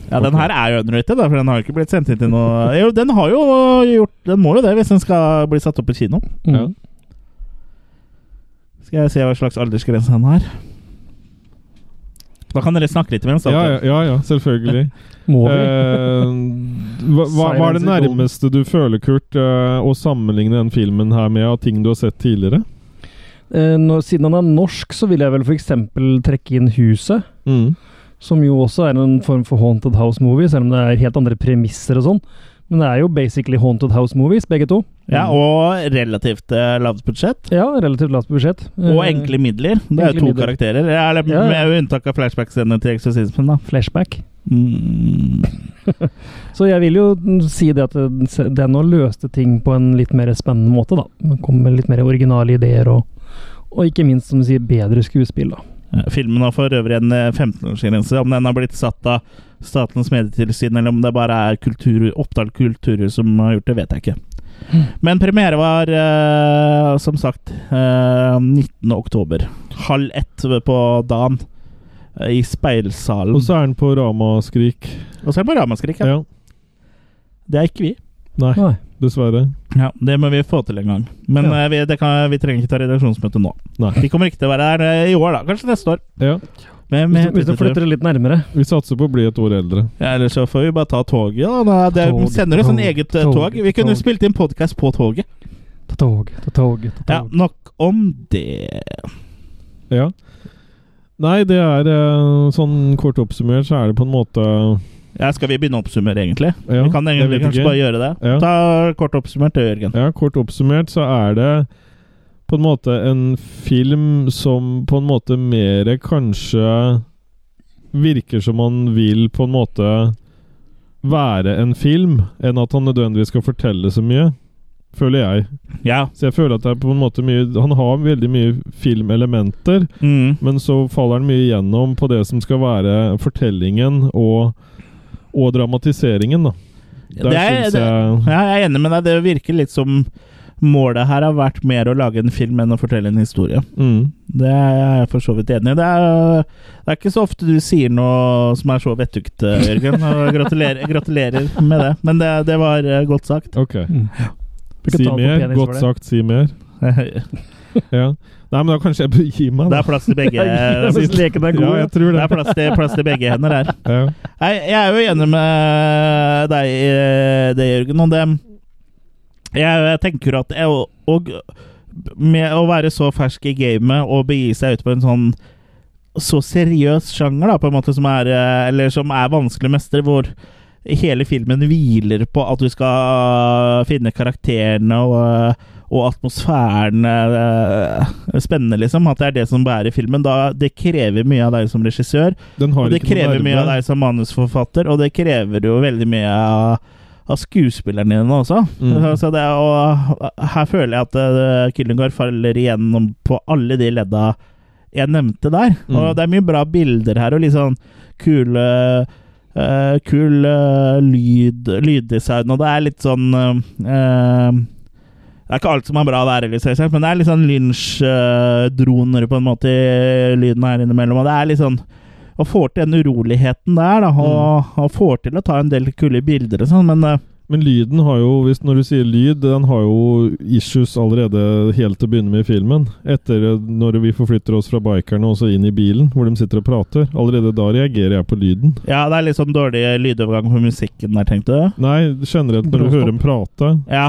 Ja, Den her er jo underrated, da, for den har jo ikke blitt sendt inn til noe Jo, den har jo gjort Den må jo det, hvis den skal bli satt opp i kino.
Mm.
Ja.
Skal jeg se hva slags aldersgrense han har. Da kan dere snakke litt imens. da.
Ja, ja, ja, ja selvfølgelig.
Må vi?
Eh, hva, hva hva er det
Silence is golden.
nærmeste du føler, Kurt, eh, å sammenligne den filmen her med av ting du har sett tidligere?
Eh, nå- siden han er norsk, så vil jeg vel f.eks. trekke inn Huset.
Mm.
Som jo også er en form for Haunted House-movie, selv om det er helt andre premisser og sånn. Men det er jo basically Haunted House-movies, begge to.
Ja, og relativt eh, lavt budsjett.
Ja, relativt lavt budsjett.
Og
Eh,
enkle midler. Det er jo
enkle
to
midler.
karakterer. Ja, Eller
Ja.
med unntak av flashback-scenene til eksorsismen, da.
Flashback.
Mm.
Så jeg vil jo mm, si det at den se- den nå løste ting på en litt mer spennende måte, da. Den Kom med litt mer originale ideer, og, og ikke minst, som du sier, bedre skuespill, da.
Ja, Eh, Filmen har for øvrig en eh, 15-årsgrense. Om den har blitt satt av Statens medietilsyn, eller om det bare er kultur, Oppdal kulturhus som har gjort det, vet jeg ikke. Men premiere var, eh, som sagt, eh, 19. oktober. Halv ett på dagen. eh, I Speilsalen.
Og så er den på Ramaskrik.
Og så er det på Ramaskrik. Ja.
Ja.
Det er ikke vi.
Nei.
Nei.
dessverre.
Ja, Det må vi få til en gang. Men
Ja.
eh, vi, det kan, vi trenger ikke ta redaksjonsmøte nå.
Nei.
De kommer ikke til å være der eh, i år, da. Kanskje neste år.
Ja,
Men,
Hvis
men,
du, hvis du flytter det litt nærmere.
vi satser på å bli et år eldre.
ja, Eller så får vi bare ta toget. Da. Da, det,
Tog,
sender oss en
tog,
eget eh,
tog,
tog. Vi kunne
tog.
spilt inn podkast på toget.
Ta tog, ta tog, ta
Ja,
tog.
Nok om det.
Ja. Nei, det er eh, sånn kort oppsummert, så er det på en måte
Ja, skal vi begynne å oppsummere, egentlig?
ja,
vi kan
jeg
egentlig
vet
kanskje
ikke.
bare gjøre det.
Ja.
Ta kort oppsummert det, Jørgen.
Ja, kort oppsummert så er det på en måte en film som på en måte mer kanskje virker som han vil på en måte være en film, enn at han nødvendigvis skal fortelle så mye, føler jeg.
Ja.
Så jeg føler at det er på en måte mye Han har veldig mye filmelementer,
Mm.
men så faller han mye gjennom på det som skal være fortellingen og, og dramatiseringen, da. Der
Det er-
syns jeg
Ja, jeg er enig med deg. Det virker litt som målet her har vært mer å lage en film enn å fortelle en historie.
mm,
Det er jeg for så vidt enig i. Det er, det er ikke så ofte du sier noe som er så vettugt, eh, Jørgen. Og gratulerer, gratulerer med det. Men det, det var eh, godt sagt.
OK.
Mm. Bruker
Si
tall på
mer.
penis for
Godt
det.
sagt, si mer.
Det
Ja. Nei, men da kanskje jeg bør gi meg, da.
er plass til begge
Jeg synes
Det
leken er god.
Ja, jeg tror det.
er plass til, plass til begge hender her.
Ja.
Nei, jeg er jo enig med deg i det, Jørgen. Og det Jeg, jeg tenker at jeg, og, og med å være så fersk i gamet og begi seg ut på en sånn så seriøs sjanger, da, på en måte, som er, eh, eller som er vanskelig å mestre, hvor hele filmen hviler på at du skal finne karakterene og, og atmosfæren eh, spennende, liksom. At det er det som bærer filmen. Da, det krever mye av deg som regissør.
Den har
Og det
ikke noe
krever
nerve.
mye av deg som manusforfatter, og det krever jo veldig mye av, av skuespillerne dine også.
Mm.
Så- Så det, er- og her føler jeg at uh, Kyllingard faller igjennom på alle de ledda jeg nevnte der.
Mm.
Og det er mye bra bilder her, og litt sånn kule eh, Kul eh, lyd, lyddesign, og det er litt sånn eh, eh, det er ikke alt som er bra der, heller, selvsagt, men det er litt sånn lynsj-droner eh, på en måte i lyden her innimellom. Og det er litt sånn Og får til den uroligheten der, da, og,
Mm.
og får til å ta en del kule bilder og sånn, men eh,
Men lyden har jo, hvis når du sier lyd, den har jo issues allerede helt til å begynne med i filmen. Etter eh, når vi forflytter oss fra bikerne og så inn i bilen, hvor de sitter og prater. Allerede da reagerer jeg på lyden.
Ja, det er litt sånn dårlig lydovergang på musikken der, tenkte du?
Nei, generelt når du
Bråstopp.
hører dem prate.
Ja.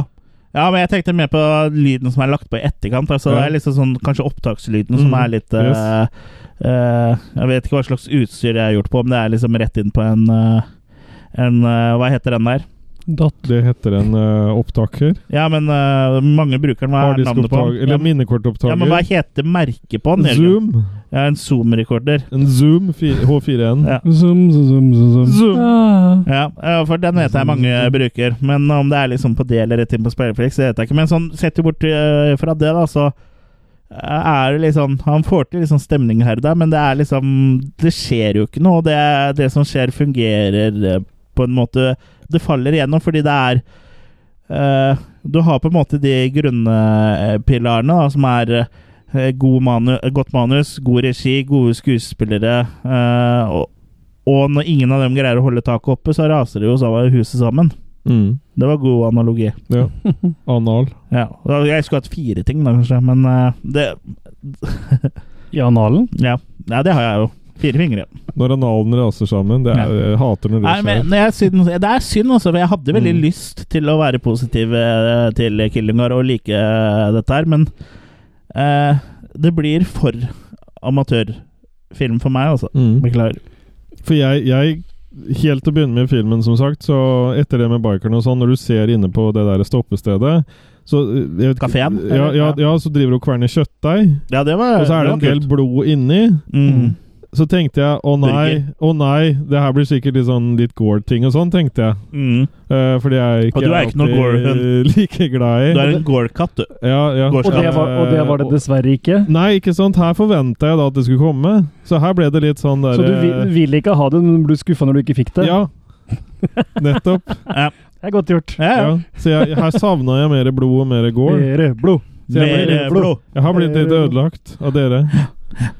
ja, men jeg tenkte mer på lyden som er lagt på i etterkant. Altså,
Ja.
Det er liksom sånn, Kanskje opptakslyden
Mm,
som er litt eh, eh, Jeg vet ikke hva slags utstyr det er gjort på, om det er liksom rett inn på en, eh, en eh, Hva heter den der?
Dot.
Det heter en eh, opptaker.
Ja, men eh, mange bruker den. Hva er navnet på
Harddiskopptaker.
den?
Eller
Ja,
minnekortopptaker.
ja, men hva heter merket på den? Jørgen?
Zoom.
Ja, en Zoom-rekorder.
En Zoom fi- H4n.
Ja.
Zoom, zoom, zoom, zoom.
Zoom.
Ah.
Ja, eh, for den vet jeg mange bruker. Men om det er liksom på det eller rett inn på Spilleflix, det vet jeg ikke. Men sånn, sett jo bort eh, fra det, da, så eh, er det liksom Han får til liksom stemning her og der, men det er liksom Det skjer jo ikke noe. og Det, det som skjer, fungerer eh, på en måte Det faller igjennom fordi det er eh, Du har på en måte de grunnpilarene, da, som er eh, god manu godt manus, god regi, gode skuespillere eh, og og når ingen av dem greier å holde taket oppe, så raser det jo sammen, huset sammen.
Mm.
Det var god analogi.
Ja. Anal.
Ja. og Jeg skulle hatt fire ting, da, kanskje, men eh, det
I analen?
ja. ja, det har jeg jo. Fire fingre.
Når analen raser sammen. Det er, jeg hater når det
Nei,
skjer.
men jeg synes, Det er synd, altså. for Jeg hadde veldig
Mm.
lyst til å være positiv eh, til Killingar og like eh, dette her, men eh, det blir for amatørfilm for meg, altså.
Mm.
Beklager.
For jeg, jeg Helt til å begynne med filmen, som sagt, så etter det med bikerne og sånn, når du ser inne på det der stoppestedet så, øh, jeg vet ikke-
Kafeen,
Ja,
eller?
ja, ja, så driver du og kverner kjøttdeig,
Ja, det var
og så er det
var
en del
kult.
blod inni.
mm.
Så tenkte jeg å nei,
Burger.
å nei, det her blir sikkert litt sånn litt Gore-ting og sånn, tenkte jeg.
Mm.
Eh, fordi jeg
Og du er ikke noe
alltid like glad i
Du er en gårdkatt, du.
ja, ja. Eh,
Gore-
Og det, var, og det var det dessverre ikke.
Nei, ikke sant. Her forventa jeg da at det skulle komme, så her ble det litt sånn der
Så du vil,
eh,
vil ikke ha det, men du ble skuffa når du ikke fikk det?
Ja. Nettopp.
Det er godt gjort.
Ja, ja.
Ja. Så jeg, her savna jeg mer blod og mer gård.
Mere blod.
Så jeg,
Mer
ble-
eh, blod.
jeg har blitt litt ødelagt av dere.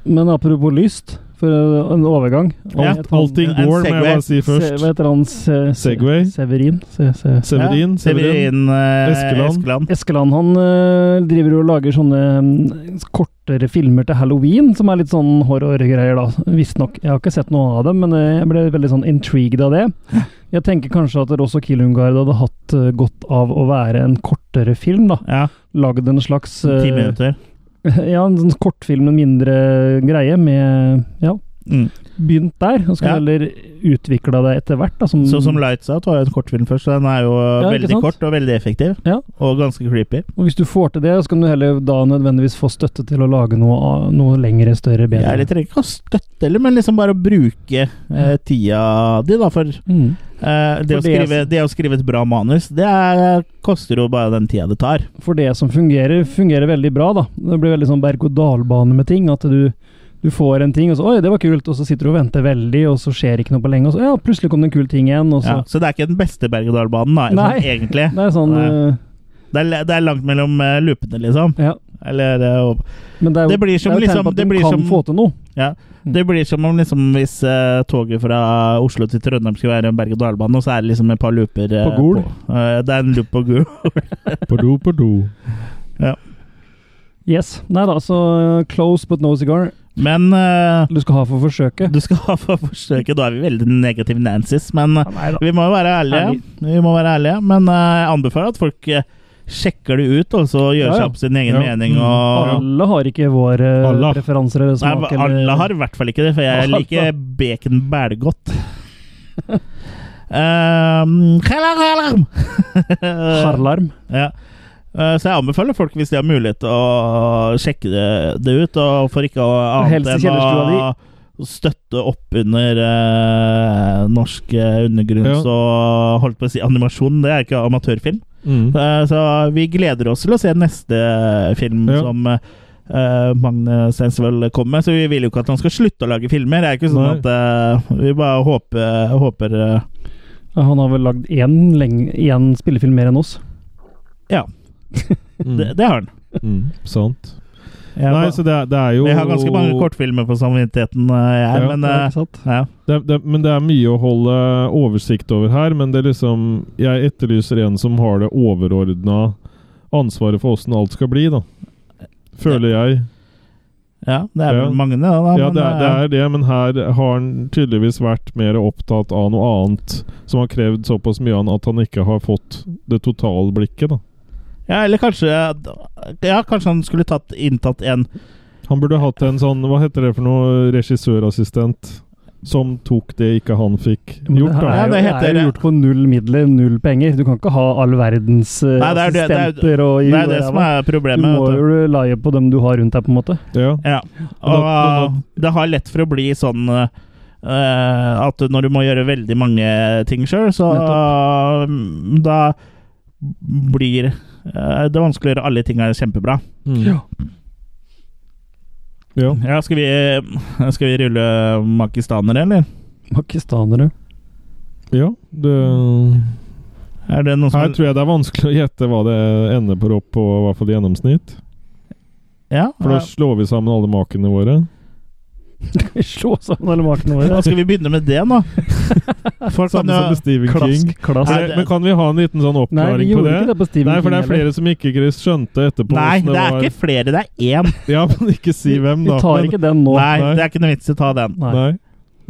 Men apropos lyst, for eh, en overgang.
Ja.
Alt,
sånn-
allting
En
går, må jeg
Segway.
bare si
Se,
først.
hva heter han? Se, se,
Segway.
Severin? Se, se.
Severin.
Ja,
Severin.
Severin eh,
Eskeland.
Eskeland.
Eskeland han eh, driver og lager sånne mm, kortere filmer til halloween, som er litt sånn horrorgreier, da. Visstnok. Jeg har ikke sett noe av dem, men eh, jeg ble veldig sånn intrigued av det. Jeg tenker kanskje at Rosso Kilungard hadde hatt eh, godt av å være en kortere film, da.
Ja,
Lagd en slags eh,
ti minutter.
Ja, en sånn kortfilm, en mindre greie, med Ja,
Mm.
begynt der, og skulle
Ja.
heller utvikla det etter hvert, da. Som,
Sånn som Lights Out var jo en kortfilm først, så den er jo
Mm. ikke
veldig
sant?
kort og veldig effektiv.
Ja.
Og ganske creepy.
Og hvis du får til det, så kan du heller da nødvendigvis få støtte til å lage noe, av- noe lengre, større, bedre.
Jeg trenger ikke å støtte heller, men liksom bare å bruke eh, tida di, da, for eh,
Mm.
det, å
For det-
skrive, det å skrive et bra manus, det er, koster jo bare den tida det tar.
For det som fungerer, fungerer veldig bra, da. Det blir veldig sånn berg-og-dal-bane med ting. At du, du får en ting, og så 'oi, det var kult', og så sitter du og venter veldig, og så skjer ikke noe på lenge, og så ja, plutselig kom det en kul ting igjen, og
Ja,
så
så det er ikke den beste berg-og-dal-banen, da,
Nei.
sånn, egentlig.
Det er sånn
Nei.
eh,
Det er, det er langt mellom eh, loopene, liksom.
Ja.
Eller eh, og-
Men det er jo
Det blir som
det er jo et tegn
liksom-
på at
det
du
blir
kan
som-
få til noe.
Det blir som om liksom, hvis eh, toget fra Oslo til Trondheim skulle være en berg-og-dal-bane, og så er det liksom et par looper eh,
På Gol?
på. Eh, det er en loop på Gol.
På do, på do.
Yes. Nei da, så eh, close but no cigar.
Men eh,
Du skal ha for forsøket.
du skal ha for forsøket. Da er vi veldig negative Nancys, men eh,
Ja, nei da.
vi må jo være ærlige.
Ærlig.
Vi må være ærlige. Men eh, jeg anbefaler at folk eh, sjekker det ut, og så gjør
Ja, ja.
seg opp sin egen
Ja.
mening.
Mm.
Og,
Alle har ikke våre
Alle.
preferanser eller
Nei,
smak. eller-
alle har i hvert fall ikke det, for jeg
Alle.
liker bacon bælgodt. Um, halarm!
Harlarm.
Ja. Eh, Så jeg anbefaler folk, hvis de har mulighet, til å sjekke det, det ut. Og for ikke å
helst i
annet enn å
kjellerstua
støtte opp under eh, norsk eh, undergrunns- og holdt på å si animasjon. Det er ikke amatørfilm.
Mm.
Eh, så vi gleder oss til å se neste film
Ja.
som eh, eh, Magne Stensvold kommer med. Så vi vil jo ikke at han skal slutte å lage filmer. Det er ikke sånn
Nei.
at eh, Vi bare håper, håper eh,
Ja, Han har vel lagd én, leng- én spillefilm mer enn oss.
Mm.
det, det har han.
Mm. Sant.
Jeg,
Nei, så det, er- det er jo
jeg har ganske mange kortfilmer på samvittigheten, eh, jeg,
Ja,
men
Ja,
eh,
ikke sant?
Ja.
Det, det, men det er mye å holde oversikt over her, men det er liksom Jeg etterlyser en som har det overordna ansvaret for åssen alt skal bli, da. Føler jeg.
ja, det er
Ja.
vel mange, det. Da,
Ja,
men,
det er, det
eh,
er det, men her har han tydeligvis vært mer opptatt av noe annet som har krevd såpass mye av han at han ikke har fått det totalblikket, da.
ja, eller kanskje eh, Ja, kanskje han skulle tatt inntatt en
Han burde hatt en sånn, hva heter det for noe, regissørassistent som tok det ikke han fikk
Men
gjort,
det her
Ja,
da.
er jo,
det
det
heter-
er jo gjort på null midler, null penger. Du kan ikke ha all verdens eh,
Nei, det er det- det er-
assistenter og
Det er det som er
Du
problemet.
må
vet du.
jo laie på dem du har rundt deg, på en måte.
Ja.
Ja.
Og
Og
da- og
eh, det har lett for å bli sånn eh, eh, at når du må gjøre veldig mange ting sjøl, så eh, da blir eh, det vanskelig å gjøre alle tinga kjempebra.
Mm.
Ja.
ja.
Ja, skal vi, eh, skal vi rulle makistanere, eller?
Pakistanere.
Ja,
Mm.
det
Er det noen som
Her tror jeg det er vanskelig å gjette hva det ender på opp på, i hvert fall i gjennomsnitt.
ja,
For da
ja.
slår vi sammen alle makene våre.
Slå sammen alle makene våre.
Skal vi begynne med det, nå? Folk kan
Samme
jo
som med Stephen King.
Klask, klask.
Nei,
Men,
Altså, det-
men kan vi ha en liten sånn
Nei, vi
oppklaring på
gjorde
det?
ikke det på Steven
Nei, for det er
King, eller?
flere som ikke Chris skjønte etterpå.
Nei,
hvordan
det er ikke flere, det er én.
var. Ja, men ikke si hvem, da.
Vi tar ikke den nå.
Nei,
nei.
det er ikke noe vits i å ta den.
men, nei.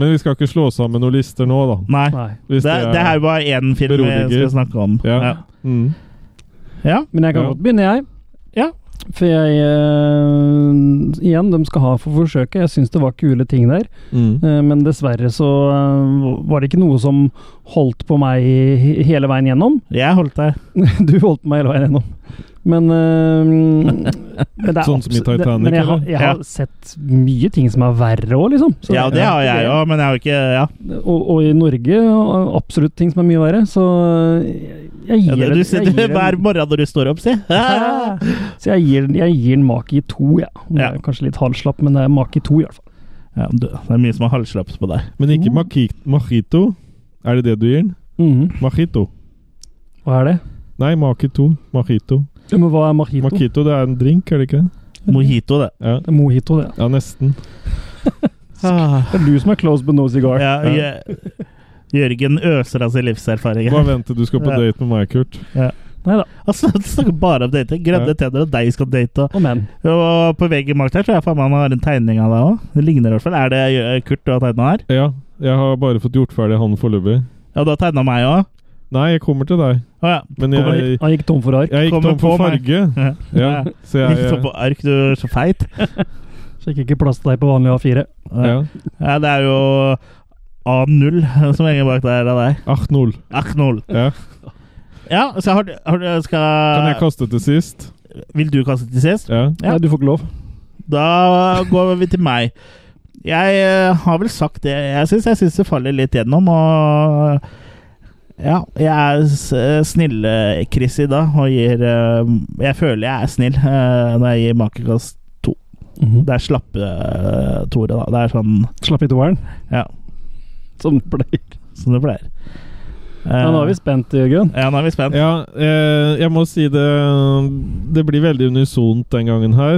men vi skal ikke slå sammen noen lister nå, da.
Nei.
Nei.
Hvis
Mm. Det, det er jo bare én film vi
Beroliger.
skal snakke om.
Ja.
Ja.
mm.
Ja.
Men jeg kan
Ja.
godt begynne, jeg.
Ja.
For jeg eh, Igjen, de skal ha for forsøket. Jeg syns det var kule ting der.
Mm.
Eh, men dessverre så eh, var det ikke noe som holdt på meg he- hele veien gjennom.
Jeg holdt der.
Du holdt meg hele veien gjennom. Men, eh, men det er
Sånn som i
abs- det-
Titanic,
Men jeg, har-
eller?
jeg har
Ja.
sett mye ting som er verre òg, liksom. Så
Ja, det har jeg
det-
òg, men jeg har jo ikke Ja,
Og, og i Norge og absolutt ting som er mye verre. Så jeg, jeg
ja
gir
det,
en-
du
jeg
sitter
gir en-
hver morgen når du står opp, si.
Så jeg gir, jeg gir den make i to, jeg. Ja. Det
Ja.
er jo kanskje litt halvslapp, men det er make i to i hvert fall.
Ja, du, det er mye som er halvslaps på deg.
Men
Mm.
ikke maki- mojito. Er det det du gir den?
Mhm.
Mojito.
Hva er det?
Nei, makito. Mojito.
Ja, men hva er mojito?
Makito, det er en drink, er det ikke det?
Mojito, det.
Ja,
Det er mojito, det.
ja nesten.
Ah,
Det er du som er close but no cigar.
ja, Jø- Jørgen øser av sin livserfaring.
Bare vent til du skal på
Ja.
date med meg, Kurt.
Neida.
Altså, han snakker bare om dating. Grønne
Ja.
tenner og deg skal date. Og,
Og men.
og på veggen bak der tror jeg faen meg han har en tegning av deg òg. Det ligner i hvert fall. Er det Jø- Kurt du har tegna her?
Ja, jeg har bare fått gjort ferdig han foreløpig.
Ja, du har tegna meg òg?
Nei, jeg kommer til deg.
Å ja.
Men
Han
jeg,
gikk- han gikk tom for ark.
jeg gikk
Kommer
tom for
på meg.
farge. Ja,
Ja.
så
Litt sånn
jeg
på ark, du er så feit.
Sjekk ikke plass til deg på vanlig A4.
Ja.
ja.
Ja, det er jo A0 som henger bak der av deg.
8-0.
A0.
Ja.
Ja, så har, du- har du
Kan jeg
skal,
kaste til sist?
Vil du kaste til sist?
Ja.
Ja.
Nei, du får ikke lov.
Da går vi til meg. Jeg eh, har vel sagt det jeg syns. Jeg syns det faller litt gjennom, og Ja, jeg er s- eh, snille-Chris i dag og gir eh, Jeg føler jeg er snill eh, når jeg gir makekast. Det er slappe-Tore, da. Det er sånn
Slapp i toeren.
Ja.
Som pleier.
som det pleier.
Ja, nå er vi spent, Jørgen.
ja, nå er vi spent.
ja eh, jeg må si det Det blir veldig unisont den gangen her.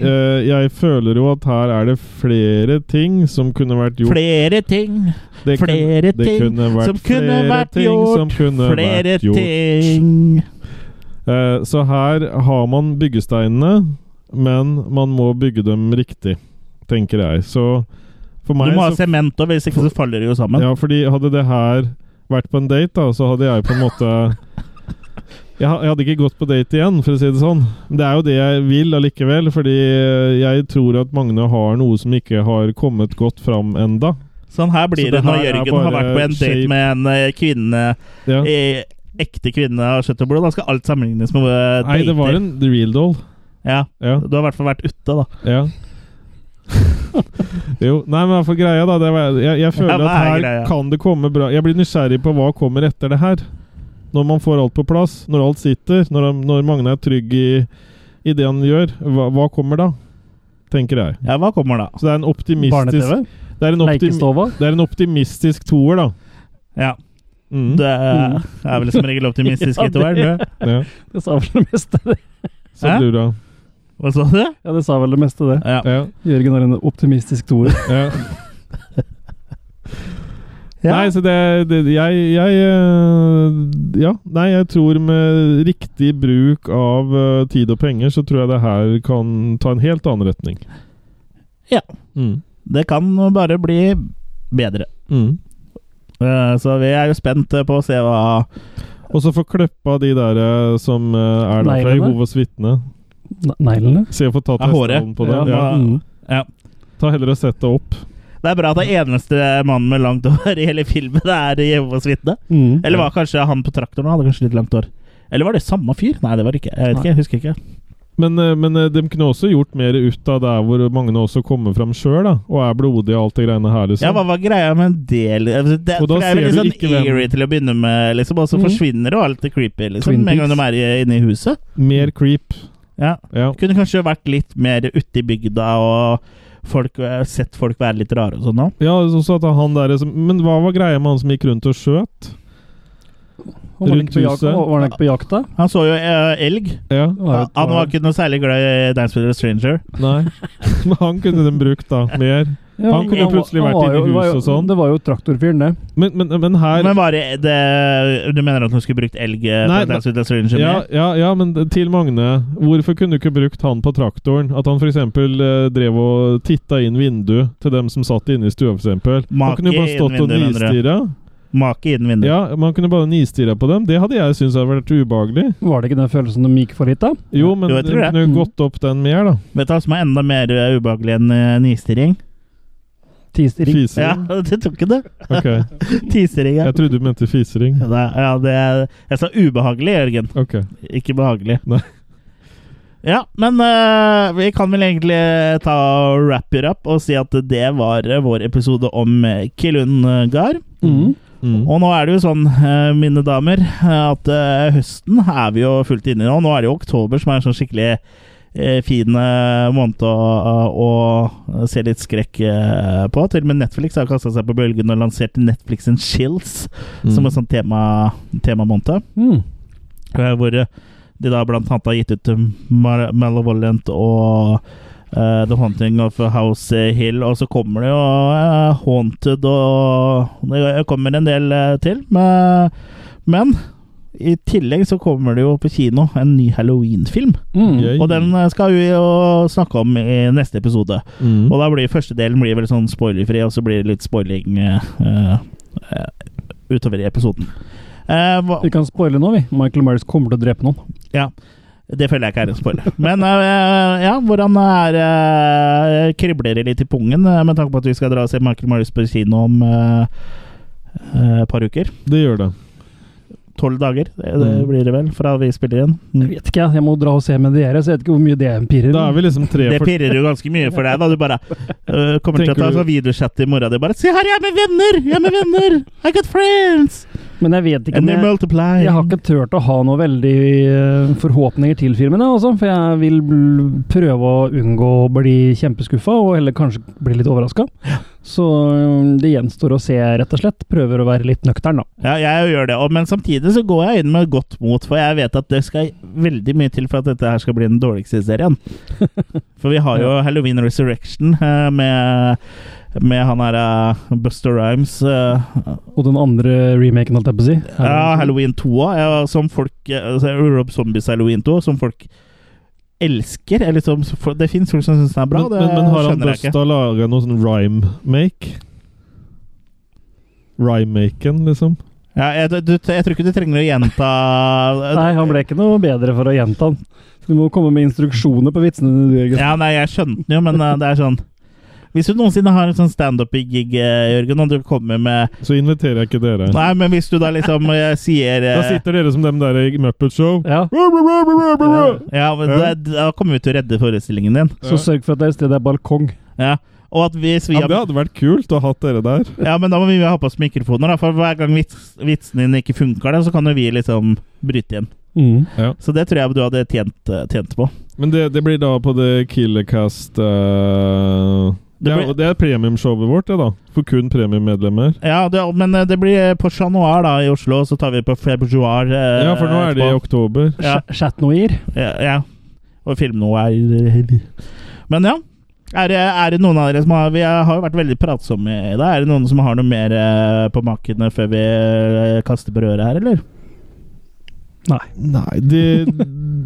Eh, jeg føler jo at her er det flere ting som kunne vært gjort.
Flere ting,
det kun-
flere
det
ting
kunne vært
som kunne
flere
vært
ting
gjort.
Som kunne
flere
vært gjort.
ting
Eh, så her har man byggesteinene, men man må bygge dem riktig, tenker jeg. Så for
Du
meg
må ha
så
sement òg, hvis ikke så faller det jo sammen.
Ja, fordi hadde det her vært på en date, da, så hadde jeg på en måte jeg, ha- jeg hadde ikke gått på date igjen, for å si det sånn. Men det er jo det jeg vil allikevel, fordi eh, jeg tror at Magne har noe som ikke har kommet godt fram enda.
Sånn her blir
Så
det
det
når
her er
Jørgen har
bare
vært på en date
shape.
med en eh, kvinne
Ja.
eh, Ekte kvinne av kjøtt og blod. Da skal alt sammenlignes med eh, dater.
Nei, det var en real doll.
ja,
Ja,
Du har i hvert fall vært ute, da.
ja. jo, nei, men for greia da det var, jeg, jeg
Ja,
føler
hva
at
er
her
greia?
kan det komme bra Jeg blir nysgjerrig på hva kommer etter det her. Når man får alt på plass, når alt sitter, når, han- når Magne er trygg i, i det han gjør. Hva, hva kommer da? Tenker jeg.
Ja, Hva kommer da?
Så det er en optimistisk
Barne-TV.
Det er en, optim,
Leikestova.
det er en optimistisk toer, da.
Ja,
Mm.
Du eh, er vel som regel optimistisk
Ja,
etter hvert, du?
Ja.
Det sa vel det meste, det.
Så
Hæ?
du, da.
Hva sa du?
Ja, det sa vel det meste, det.
Ja.
Ja.
Jørgen har en optimistisk toer.
ja.
Ja.
Nei, så det, det jeg, jeg eh, Ja. Nei, jeg tror med riktig bruk av eh, tid og penger, så tror jeg det her kan ta en helt annen retning.
Ja.
Mm.
Det kan bare bli bedre.
Mm.
Eh, Så vi er jo spent eh, på å se hva
Og så få kløppa de der eh, som eh, er der fra
Neglene?
Jehovas vitne.
Ne- Neglene.
Se å få ta
Ja, håret.
testen på det.
Ja,
Ja,
da-
Mm.
ja.
Ta heller og sett det opp.
Det er bra at det eneste mannen med langt hår i hele filmen er Jehovas vitne.
Mm.
Eller var kanskje han på traktoren han hadde kanskje litt langt hår. Eller var det samme fyr? Nei, det var det ikke. Jeg vet ikke, jeg husker ikke.
Men, eh, men eh, de kunne også gjort mer ut av der hvor Magne også kommer fram sjøl, da. Og er blodig og alt det greiene her,
Ja,
liksom.
Hva var greia med en del altså, det,
Og da
for det er jo
ser
litt
du
sånn
ikke hvem-
eerie til å begynne med, liksom, og så
Mhm.
forsvinner jo alt det creepy liksom,
Twin
med en gang de er
Peaks.
i- inne i huset.
Mer creep.
Ja.
Ja.
Kunne kanskje vært litt mer ute i bygda og folk, eh, sett folk være litt rare og sånn òg.
Ja, også at han der som, Men hva var greia med han som gikk rundt og skjøt?
Og var han
rundt
ikke på jakt-
huset.
og Var han ikke på jakt, da?
Han så jo eh, elg.
Ja,
Ja,
Han var ikke noe særlig glad i Dance with a Stranger.
nei Men han kunne de brukt, da. Mer.
Ja,
Han kunne jo
var-
plutselig
han
vært
var
inne i
jo- det var
huset
jo-
og sånn.
Det var jo traktorfyren, det.
Men, men, men her
Men var det, det Du mener at hun skulle brukt elg eh,
Nei,
på Dance with a Stranger?
ja,
mer?
ja, ja, men til Magne. Hvorfor kunne du ikke brukt han på traktoren? At han f.eks. Eh, drev og titta inn vinduet til dem som satt inne i stua, f.eks. Han
Make
kunne jo bare stått
inn
og
vinduet, mener
nistirra.
Make innen vinduet.
Ja, man kunne bare nistirra på dem. Det hadde jeg syntes hadde vært ubehagelig.
Var det ikke den følelsen de gikk for litt, da?
Jo, men
Jo, jeg
du
tror det.
kunne jo gått opp den mer, da.
Vet du hva som er enda mer eh, ubehagelig enn eh, nistirring?
Tisering.
Ja,
Fisering?
du tok ikke det?
Ok.
Tisering, ja.
Jeg trodde du mente fisering.
Ja, det, ja, det er, jeg sa ubehagelig, Jørgen.
Ok.
Ikke behagelig.
Nei.
Ja, men eh, vi kan vel egentlig ta og wrap it up og si at det var eh, vår episode om eh, Kilungar.
Mm.
Mm.
Og nå er det jo sånn, eh, mine damer, eh, at eh, høsten er vi jo fullt inne i nå. Nå er det jo oktober som er en sånn skikkelig eh, fin eh, måned å, å å se litt skrekk eh, på. Til og med Netflix har kasta seg på bølgen og lansert Netflixen Chills
Mm.
som en sånn tema- temamåned.
Mm.
Eh, Hvor eh, de da blant annet har gitt ut eh, Mal- Malevolent og eh, The Haunting of House Hill, og så kommer det jo eh, Haunted og Det kommer en del eh, til. Men, men i tillegg så kommer det jo på kino en ny Halloween-film.
Mm.
Gøy.
Og den eh, skal vi jo snakke om i neste episode.
Mm.
sånn- Og da blir første delen blir vel sånn spoilerfri, og så blir det litt spoiling eh, eh, utover i episoden. Eh, hva-
Vi kan spoile nå, vi. Michael Myers kommer til å drepe noen.
det føler jeg ikke er en spoiler. Men eh, ja, hvordan er eh, Kribler det litt i pungen eh, med tanke på at vi skal dra og se Michael Myers på kino om eh, eh, et par uker?
Det gjør det.
Tolv dager det, det
Mm.
blir det vel, fra vi spiller inn.
Jeg
Mm.
vet ikke, jeg. Jeg må dra og se med dere, så jeg vet ikke hvor mye det er en pirrer.
Da er vi liksom tre
Det
for
pirrer jo ganske mye for deg, da. Du bare eh, kommer til å
Tenker
ta
du-
sånn videochat til mora di. Bare 'Se her, jeg er med venner! Jeg er med venner! I got friends!
Men jeg vet ikke
And they
om jeg,
multiply!'
jeg har ikke turt å ha noe veldig eh, forhåpninger til filmen, jeg, altså. For jeg vil bl- prøve å unngå å bli kjempeskuffa, og heller kanskje bli litt overraska. Så eh, det gjenstår å se, rett og slett. Prøver å være litt nøktern,
Ja,
da.
jeg gjør det, og, men samtidig så går jeg inn med godt mot, for jeg vet at det skal veldig mye til for at dette her skal bli den dårligste serien. For vi har jo Halloween Resurrection eh, med, med han her eh, Buster Rhymes. eh,
Og den andre remaken, holdt jeg på å si.
ja, Halloween 2 òg, ja, som folk eh, altså, Rob Zombies Halloween 2, som folk elsker. Eller som, for, det fins folk som syns den er bra,
men, men,
det
men har han
skjønner jeg
lyst
ikke.
til å lage noe sånn rhyme-make? Rhyme-maken, liksom?
Ja, jeg, du, jeg tror ikke du trenger å gjenta
Nei, han ble ikke noe bedre for å gjenta den. Så Du må komme med instruksjoner på vitsene dine, du, Jørgen.
Ja, nei, jeg skjønte den jo, men eh, det er sånn Hvis du noensinne har en sånn standup-gig, eh, Jørgen, og du kommer med
Så inviterer jeg ikke dere.
Nei, men hvis du da liksom eh, sier eh,
Da sitter dere som dem der i Muppet Show.
Ja.
Ja, men da, da kommer vi til å redde forestillingen din.
Så sørg for at det er et sted det er balkong.
Ja. Og at hvis vi
Ja, men det hadde vært kult å ha hatt dere der.
Ja, men da må vi ha på oss mikrofoner, da, for hver gang vits, vitsen din ikke funker, da, så kan jo vi liksom bryte igjen.
Mm.
Så det tror jeg du hadde tjent, eh, tjent på.
Men det, det blir da på The Killercast eh, det,
Det
er, det er premiumshowet vårt, det, da. For kun premiummedlemmer.
Ja, det, men eh, det blir på Chat Noir da, i Oslo, så tar vi på Februar eh,
Ja, for nå er det i
etterpå.
oktober.
Ja.
Ch- Chat Noir.
Ja, ja. Og film noe er Men ja. Er det, er det noen av dere som har Vi har jo vært veldig pratsomme i dag. Er det noen som har noe mer eh, på makene før vi eh, kaster på røret her, eller?
Nei, det,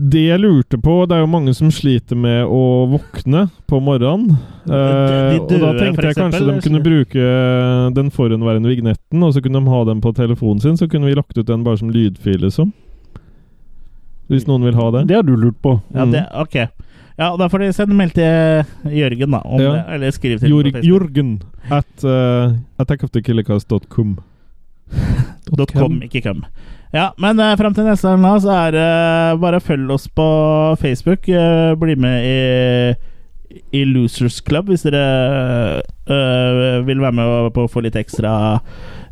det jeg lurte på Det er jo mange som sliter med å våkne på morgenen. Eh,
De- de
og
døde,
da
for
tenkte jeg kanskje
eksempel,
de kunne
så-
bruke den forhenværende vignetten, og så kunne de ha den på telefonen sin. Så kunne vi lagt ut den bare som lydfil, liksom. Hvis noen vil ha det.
Det har du lurt på.
Ja,
Mm.
det, ok. Ja, da får dere sende melding til Jørgen, da. Om
Ja.
det, eller skriv til
Jor
ham på Facebook.
Mm. Jorgen at uh, attackofthekillercast.com.
Dot com, ikke com. Ja, men uh, fram til neste gang, da, så er det bare følg oss på Facebook. eh, bli med i, i Losers Club hvis dere eh, vil være med og- på å få litt ekstra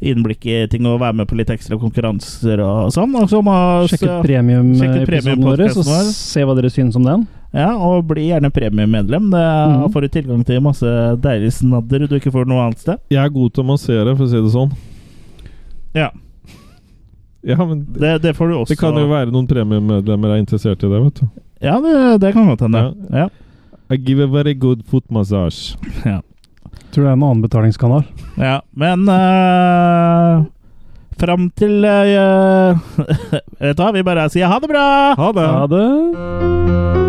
innblikk i ting og være med på litt ekstra konkurranser og sånn. Og så må
Sjekk ut
så- sjekk ut
premium-episoden
premium-podcasten
vår, eh, så
vår.
se hva dere syns om den.
ja, og bli gjerne premiemedlem. Da
Mhm.
får du tilgang til masse deilig snadder du ikke får noe annet sted.
Jeg er god til å massere, for å si det sånn.
Ja.
Ja, men det,
Det, det får du også.
det kan jo være noen premiemedlemmer er interessert i det, vet du.
Ja, det, det kan godt hende. Ja.
I give a very good foot massage.
ja.
Tror det er en annen betalingskanal.
Ja, men uh, Fram til eh, Vet du hva, vi bare sier ha det bra!
Ha det!
Ha det.